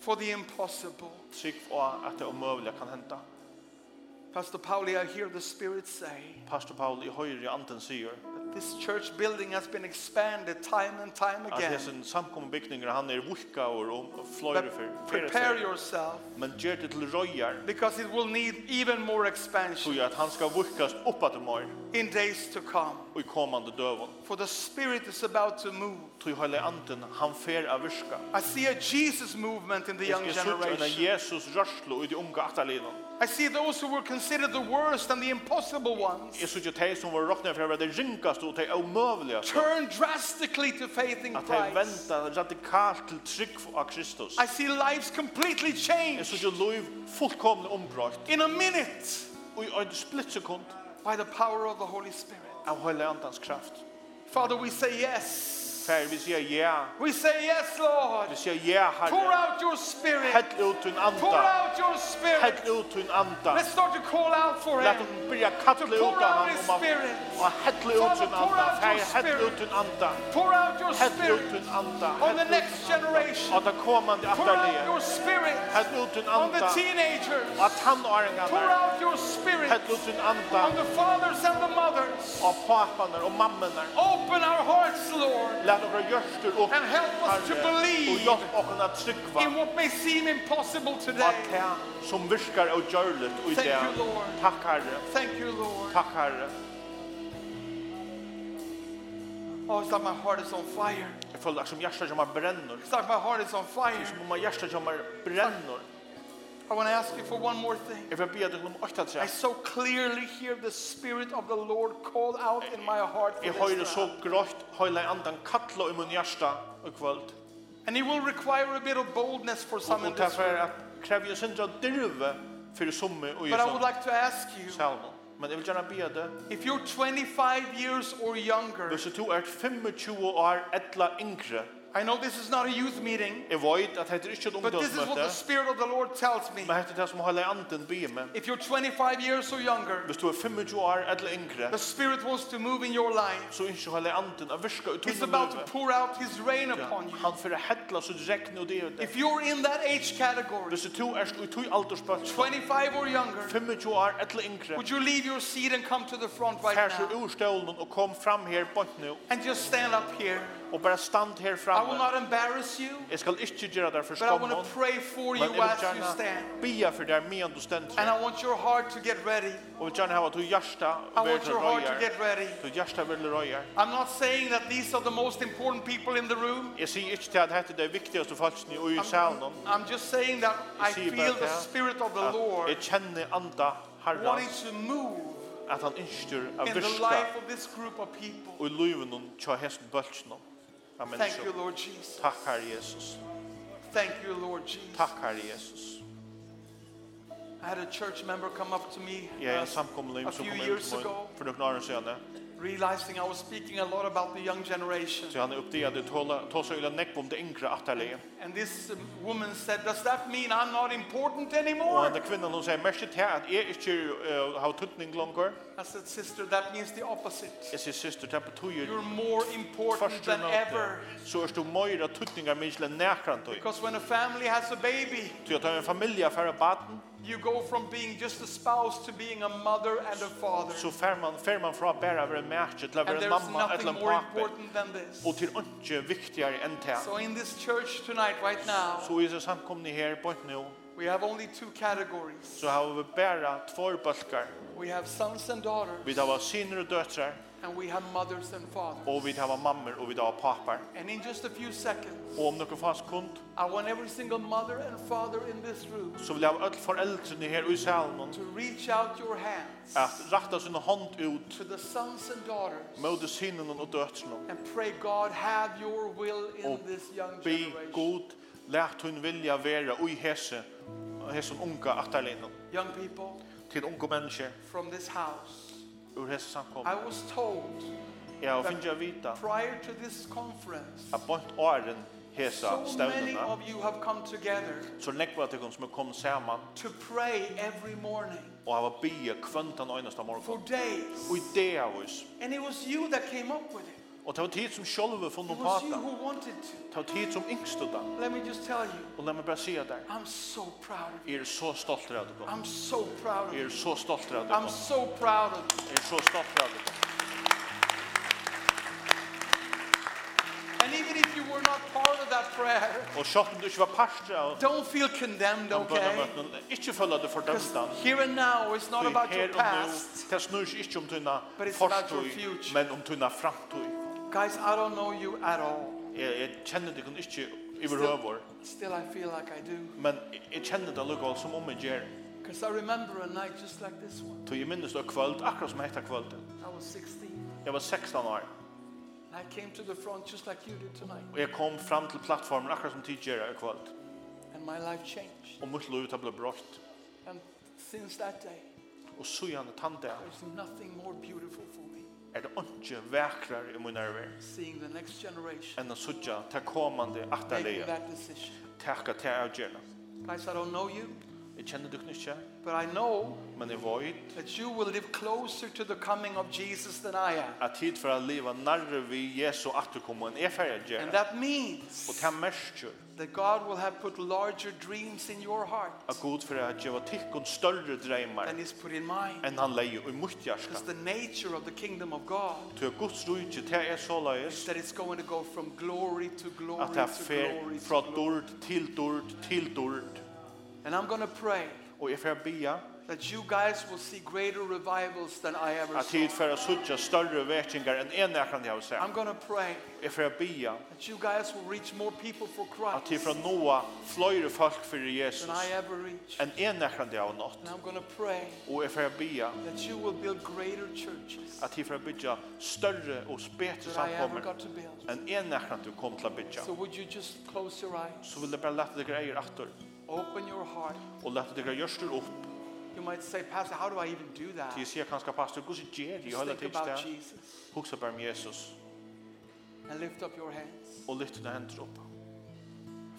B: for the impossible.
C: Trygg og at det omøvelige kan henta.
B: Pastor Pauli, I hear the Spirit say
C: Pastor Paul i høyre i anden sier
B: that this church building has been expanded time and time
C: at
B: again.
C: hesen samkommebygninger han er vukka og om og fløyre for.
B: But
C: flere
B: prepare
C: steder.
B: yourself
C: Men gjør det til røyar.
B: because it will need even more
C: Så
B: expansion
C: at han skal vukkas opp at mer
B: in days to come.
C: og i kommande døven.
B: For the Spirit is about to move.
C: Tui høyre anden han fer av virka.
B: I see a Jesus movement in the young
C: Jeg skal sutt under
B: generation.
C: Jesus rørslo i de unga atterlinen.
B: I see those who were considered the worst and the impossible ones
C: Jeg sutt jo teg som var råkna for å være det ringaste og teg omøvelige.
B: turn drastically to faith in
C: At teg
B: Christ.
C: venta radikalt til trygg av Kristus.
B: I see lives completely
C: Jeg
B: changed
C: sutt jo loiv fullkomne ombrakt.
B: in a minute
C: Og i en splittsekund
B: by the power of the Holy Spirit.
C: av høyre andens kraft.
B: Father, we say yes.
C: Fær, vi sier ja.
B: We say yes, Lord.
C: Vi sier ja,
B: Pour
C: Herre.
B: out your Spirit.
C: Hell ut din
B: Pour
C: anda.
B: out your Spirit.
C: Hell ut din anda.
B: Let's start to call out for
C: Lät
B: him.
C: oss börja kattla ut av honom om att och hättla ut sin anda. Färg, hättla ut din anda.
B: Pour out your
C: Hättla ut
B: spirit
C: din anda.
B: on the next generation.
C: Och det kommande
B: Pour out
C: efterlivet.
B: your spirit
C: Hättla ut din
B: on the
C: anda.
B: teenagers.
C: Och att han och
B: Pour
C: äringarna.
B: out your spirit
C: Hättla ut din
B: on
C: anda.
B: the fathers and the mothers.
C: Och papparna och mammorna.
B: Open our hearts, Lord,
C: Lät våra görstor upp.
B: and help us to
C: Och
B: believe
C: hjälp oss att tryggva.
B: in what may seem impossible today.
C: Att det som virkar och görligt och i
B: Thank
C: det.
B: you, Lord.
C: Tack Herre.
B: Thank you, Lord.
C: Tack Herre.
B: Oh, it's like my heart is on fire.
C: Jag följer som hjärtat som har brännor.
B: It's like my heart is on fire.
C: Som om hjärtat som har brännor.
B: I want to ask you for one more thing.
C: Jag vill be dig om åtta tre.
B: I so clearly hear the Spirit of the Lord call out in my heart.
C: Jeg
B: For
C: høyre
B: this
C: så
B: time.
C: grått høyla i andan kalla i mun hjärsta og kvöld.
B: And it will require a bit of boldness for some
C: Og
B: in this
C: derfor er at krevje sindra dirve fyrir summi og i
B: But I would
C: sånn
B: like to ask you
C: salmon. Men jeg vil gjerne bia det.
B: if you're 25 years or younger,
C: Hvis du er 25 år etla yngre,
B: I know this is not a youth meeting,
C: jeg veit at hette er ikke et
B: but this is what
C: ungdomsmøte,
B: the Spirit of the Lord tells me.
C: men hette er det som høyla i andan bia med.
B: If you're 25 years or younger,
C: Hvis du er 25 år etla yngre,
B: the Spirit wants to move in your life.
C: så ikke høyla i andan a virka ut
B: He's
C: tunne
B: about to
C: løve.
B: pour out His rain upon you.
C: Han fyrir hetla så regn og det og det.
B: If you're in that age category,
C: Hvis du er i tui alderspøtt,
B: 25 or younger,
C: 25 år etla yngre,
B: would you leave your seat and come to the front right
C: Fær
B: now?
C: seg ur stålen og kom fram her bort nu
B: And just stand up here.
C: og bara stand her
B: I will
C: framme.
B: not embarrass you,
C: Jeg skal ikke gjøre deg for
B: but I want
C: skammen,
B: to pray for
C: men jeg
B: you
C: vil
B: as you
C: gjerne
B: stand.
C: bia for deg medan du stender.
B: And I want your heart to get ready.
C: Og vil gjerne hava at du hjärsta
B: I
C: ver
B: want
C: til
B: your heart to
C: røyar.
B: get ready.
C: Du hjärsta ver til røyar.
B: I'm not saying that these are the most important people in the room.
C: Jeg sier ikke til at dette er det viktigaste folkene i salen.
B: I'm just saying that I
C: see
B: feel
C: about
B: the
C: that.
B: Spirit of the
C: At jeg
B: Lord
C: kjenner anda
B: wanting
C: herrans
B: to move
C: at han innstyr av
B: in the
C: virka
B: life of this group of people.
C: og i luven og tja hesten bølsen. Amen.
B: Thank you, Lord Jesus.
C: Takk, Herre Jesus.
B: Thank you, Lord Jesus.
C: Takk, Herre Jesus.
B: I had a church member come up to me
C: Jeg er
B: uh,
C: en samkommeling
B: a
C: som
B: few
C: kom inn
B: years
C: til
B: ago,
C: meg for noen år siden.
B: realizing I was speaking a lot about the young generation.
C: Så han er uppde att tåla ta sig illa neck om det yngre atterlige.
B: And this um, woman said, Does that mean I'm not important
C: Och
B: anymore?
C: han där kvinnan hon säger mest till att är inte uh, har tutning longer.
B: I said, Sister, that means the opposite.
C: Jag ser syster er tappar tojer
B: You're more important
C: första
B: than
C: natten.
B: ever.
C: Så är det mer tutningar minst än näkran tog.
B: Because when a family has a baby,
C: Så jag tar en familj affär baden
B: you go from being just a spouse to being a mother and a father.
C: så fär man fär man från bara över en match till
B: And
C: över en
B: there's
C: mamma
B: nothing
C: eller en
B: more
C: pappa.
B: important than this.
C: Och till inte viktigare än det.
B: So in this church tonight, right now,
C: Så är det samkomna här på ett nu
B: We have only two categories.
C: så har vi bæra två bølkar.
B: We have sons and
C: Vi
B: daughters,
C: har syner og døtrar,
B: and we have mothers and fathers.
C: og vi har mammor og vi har papar.
B: And in just a few seconds,
C: Og om noen fast kund,
B: I want every single mother and father in this room
C: så vil jeg ha alle foreldrene her i salen
B: to reach out your hands
C: at rakta sin hånd ut
B: to the sons and daughters
C: møte synen og døtrene.
B: and pray, God, have your will in
C: Och
B: this young
C: Be
B: generation.
C: god, lært hun vilja være ui hese, hese unga atterlinjen.
B: Young people
C: Til unge mennesker
B: from this house,
C: ur hese samkom.
B: I was told
C: Jeg har finnet å vite
B: prior to this conference,
C: at bort åren hese
B: so many
C: stevnene,
B: of you have come together
C: så nekva til hun som er kommet sammen
B: to pray every morning
C: og hava bia kvöntan einasta morgon.
B: for days.
C: Og i det av oss,
B: And it was you that came up with it.
C: og det var tid som sjálve funn
B: It
C: og
B: was you
C: pata,
B: who wanted to.
C: det var tid som yngstu da,
B: Let me just tell you,
C: og let meg bare sige der,
B: I'm so proud of you.
C: jeg er så stolt av dere,
B: I'm so proud of
C: jeg
B: you.
C: er så stolt av
B: I'm
C: dere,
B: so proud of you.
C: jeg er så stolt av dere.
B: And even if you were not part of that prayer,
C: Og sjálv om du ikke var parster av
B: don't feel condemned, okay?
C: bønnamøtene, ikke følge deg
B: Because
C: fordømstan,
B: here and now it's not
C: Ty
B: about your
C: her og nå,
B: past.
C: det snur seg ikke om tunna
B: But it's about your
C: fortøy,
B: future.
C: men om tunna framtøy.
B: Guys, I don't know you at all.
C: Jeg, jeg kjenner dere ikke i
B: Still-
C: behøver,
B: Still, I feel like I do.
C: men jeg, jeg kjenner det lukka som om jeg gjør.
B: Because I remember a night just like this one.
C: Så jeg minnes det kvöld, akkurat som hette kvölden.
B: I was 16.
C: Jeg var 16 år,
B: And I came to the front just like you did tonight.
C: og jeg kom fram til plattformen akkurat som tidligere i kvöld.
B: And my life changed.
C: Og mitt liv det ble brått.
B: And since that day,
C: Og så gjerne tante,
B: there's nothing more beautiful for me
C: er det ikke vekrere i min nerver
B: seeing the next generation
C: enn å sutja til kommande
B: making
C: atterlige,
B: that decision.
C: takka til avgjerne.
B: Guys, I don't know you,
C: Jeg kjenner dere ikke,
B: but I know
C: men jeg vet
B: that you will live closer to the coming of Jesus than I am.
C: at tid for å leva nærre vi Jesu atterkomme enn jeg ferdig
B: And
C: gjerne.
B: that means
C: Og til merskjør
B: that God will have put larger dreams in your heart
C: at god for å gjøre tikkun større dreimar
B: than He's put in mine.
C: enn han leier i mitt hjärska.
B: Because the nature of the kingdom of God
C: Til Guds rujtje, til er så
B: is that it's going to go from glory to glory
C: at det
B: to
C: fer
B: glory
C: fra
B: to glory.
C: dord til dord til dord.
B: And I'm going to pray
C: Og jeg fer bia
B: that you guys will see greater revivals than I ever
C: at tid
B: saw.
C: fer suttja større vekingar enn en jeg kan jeg
B: I'm
C: seg.
B: going to pray
C: Jeg fer bia
B: that you guys will reach more people for
C: at
B: Christ
C: tid fra noa fløyre folk fyrir
B: than I
C: Jesus
B: ever reached.
C: enn en jeg kan jeg nått.
B: And I'm going to pray
C: Og jeg fer bia
B: that you will build greater churches
C: at er tid fer bia større og spete
B: than I ever
C: samkommer
B: got to build.
C: enn en jeg kan du kom til bia.
B: So would you just close your eyes,
C: Så vil jeg bare lette dere eier atter
B: open your heart.
C: og lette dere gjørster opp
B: You might say, Pastor, how do I even do that?
C: til jeg sier kanskje pastor, hvordan gjør jeg
B: Just
C: hele
B: think about
C: tiden?
B: Jesus
C: Hugsa bare om Jesus
B: and lift up your hands.
C: og lytte dine hender opp.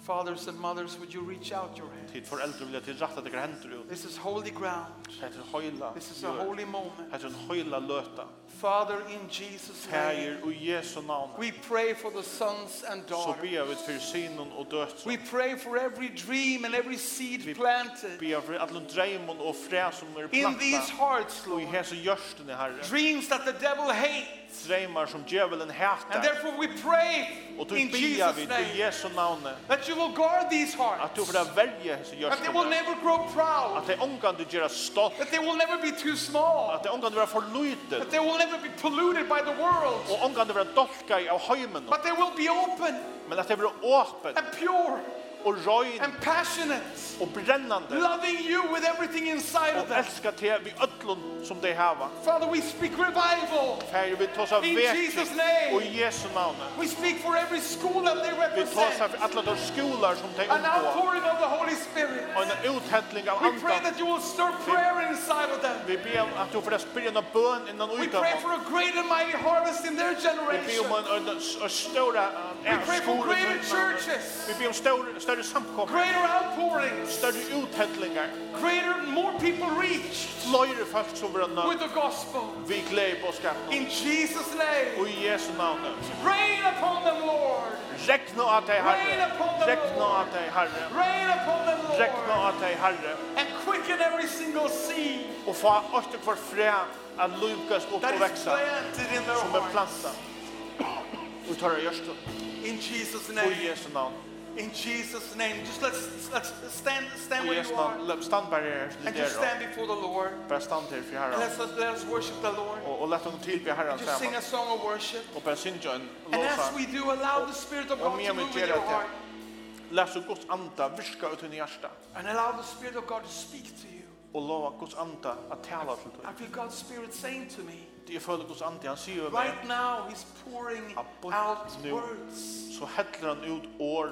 B: Fathers and mothers, would you reach out your hand?
C: Tid foreldre vil jeg til rette dere hender ut.
B: This is holy ground.
C: Hetta er høyla.
B: This is a holy moment.
C: Hetta er ein høyla løta.
B: Father, in Jesus' name,
C: Herre og Jesu navn.
B: we pray for the sons and
C: Så
B: daughters.
C: bia við fyrir synun og døtt.
B: We pray for every dream and every seed
C: Vi-
B: planted
C: bia fyrir allan dreimun og fræ sum er
B: in these
C: planta.
B: hearts,
C: Og í
B: Lord.
C: hesa jørstuni, Herre.
B: Dreams that the devil hates.
C: Dreimar sum djevelen
B: And
C: hatar.
B: therefore we pray
C: Og tu
B: in
C: bia
B: Jesus'
C: við í
B: name
C: Jesu navn
B: that you will guard these
C: at
B: hearts,
C: tu fyrir verja hesa
B: that they will
C: jørstuni.
B: never grow proud,
C: At tey ongan du gera stolt.
B: that they will never be too small,
C: At tey ongan du vera for
B: that
C: lutil.
B: they will never be polluted by the world,
C: Og ongan du vera dolka av heiminum.
B: but they will be open
C: Men at tey vera open
B: and pure
C: og rein
B: and passionate,
C: og brennandi.
B: loving you with everything inside of
C: Og
B: them.
C: elska teg við öllum sum tey hava.
B: Father, we speak revival.
C: Herre, vi tar av
B: In Jesus' name.
C: og i Jesu navn.
B: We speak for every school that they
C: Vi tar
B: represent.
C: av alla de skolor som de
B: An
C: omgår.
B: outpouring of the Holy Spirit.
C: Og en uthettling av
B: We pray
C: andan.
B: that you will stir prayer inside of them.
C: Vi ber om at du får spyrja en bøn innan
B: We pray
C: utan.
B: for a great and mighty harvest in their
C: Vi ber
B: generation.
C: om en, en, en større
B: We pray for greater churches.
C: Vi ber om større, større samkommer.
B: Greater outpourings.
C: Større uthettlingar.
B: Greater, more people reached
C: Fløyre folk som vil nå.
B: with the gospel.
C: Vi gleder på skatten.
B: In Jesus' name.
C: Og i Jesu navn.
B: Rain upon them, Lord.
C: Rekna av deg, Herre. Rekna av deg, Herre.
B: Rain upon them,
C: Rekna
B: Lord.
C: av deg, Herre.
B: And quicken every single seed
C: Og få åtte hver fræ at lykkast opp
B: that
C: og
B: is
C: veksa.
B: planted in their
C: som er
B: hearts.
C: planta. Vi tar det gjørst
B: In Jesus'
C: på
B: name.
C: Jesu navn.
B: In Jesus' name, just let's, let's stand, stand
C: Og
B: where
C: jeg
B: you are.
C: stand, stand bare her,
B: And
C: litt
B: just
C: her,
B: stand before the Lord.
C: og bare stand her for
B: And
C: herren,
B: let's, let's, let us worship the Lord.
C: og, og lett henne tilbe herren
B: Just sing a
C: sammen,
B: song of worship.
C: og bare synge en
B: And
C: låsa.
B: as we do, allow the Spirit of
C: Och
B: God
C: mer
B: to
C: med
B: move in
C: Gerard
B: your
C: här.
B: heart.
C: Læs så Guds anda virka ut i hjärsta,
B: And allow the Spirit of God to speak to you.
C: og lova Guds anda at tala til
B: I
C: dig.
B: feel God's Spirit saying to me,
C: Jeg føler Guds anda, han sier meg,
B: right now He's pouring
C: Abort
B: out
C: nu.
B: words.
C: så hettler han ut år,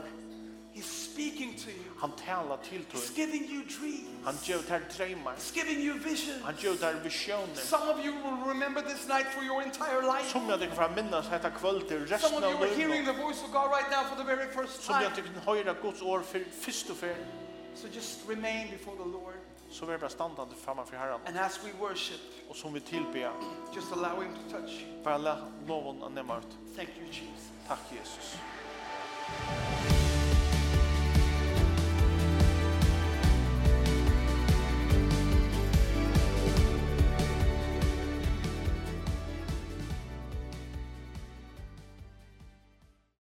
B: He's speaking to you.
C: han talar til
B: He's
C: dig,
B: giving you dreams.
C: han gjev der dreymar,
B: He's giving you visions.
C: han gjev der visjoner,
B: Some of you will remember this night for your entire life.
C: som jeg tykker fra minnes hetta kvöld til
B: Some
C: resten
B: of you
C: av
B: are hearing
C: løgnet,
B: the voice of God right now for the very first
C: som
B: time.
C: jeg tykker høyra Guds år for fyrst og fyr,
B: So just remain before the Lord.
C: så vi er bare standande framan for herren,
B: And as we worship,
C: og som vi tilbe,
B: just allow Him to touch you.
C: bare la loven å nemma ut.
B: Thank you, Jesus.
C: Takk, Jesus.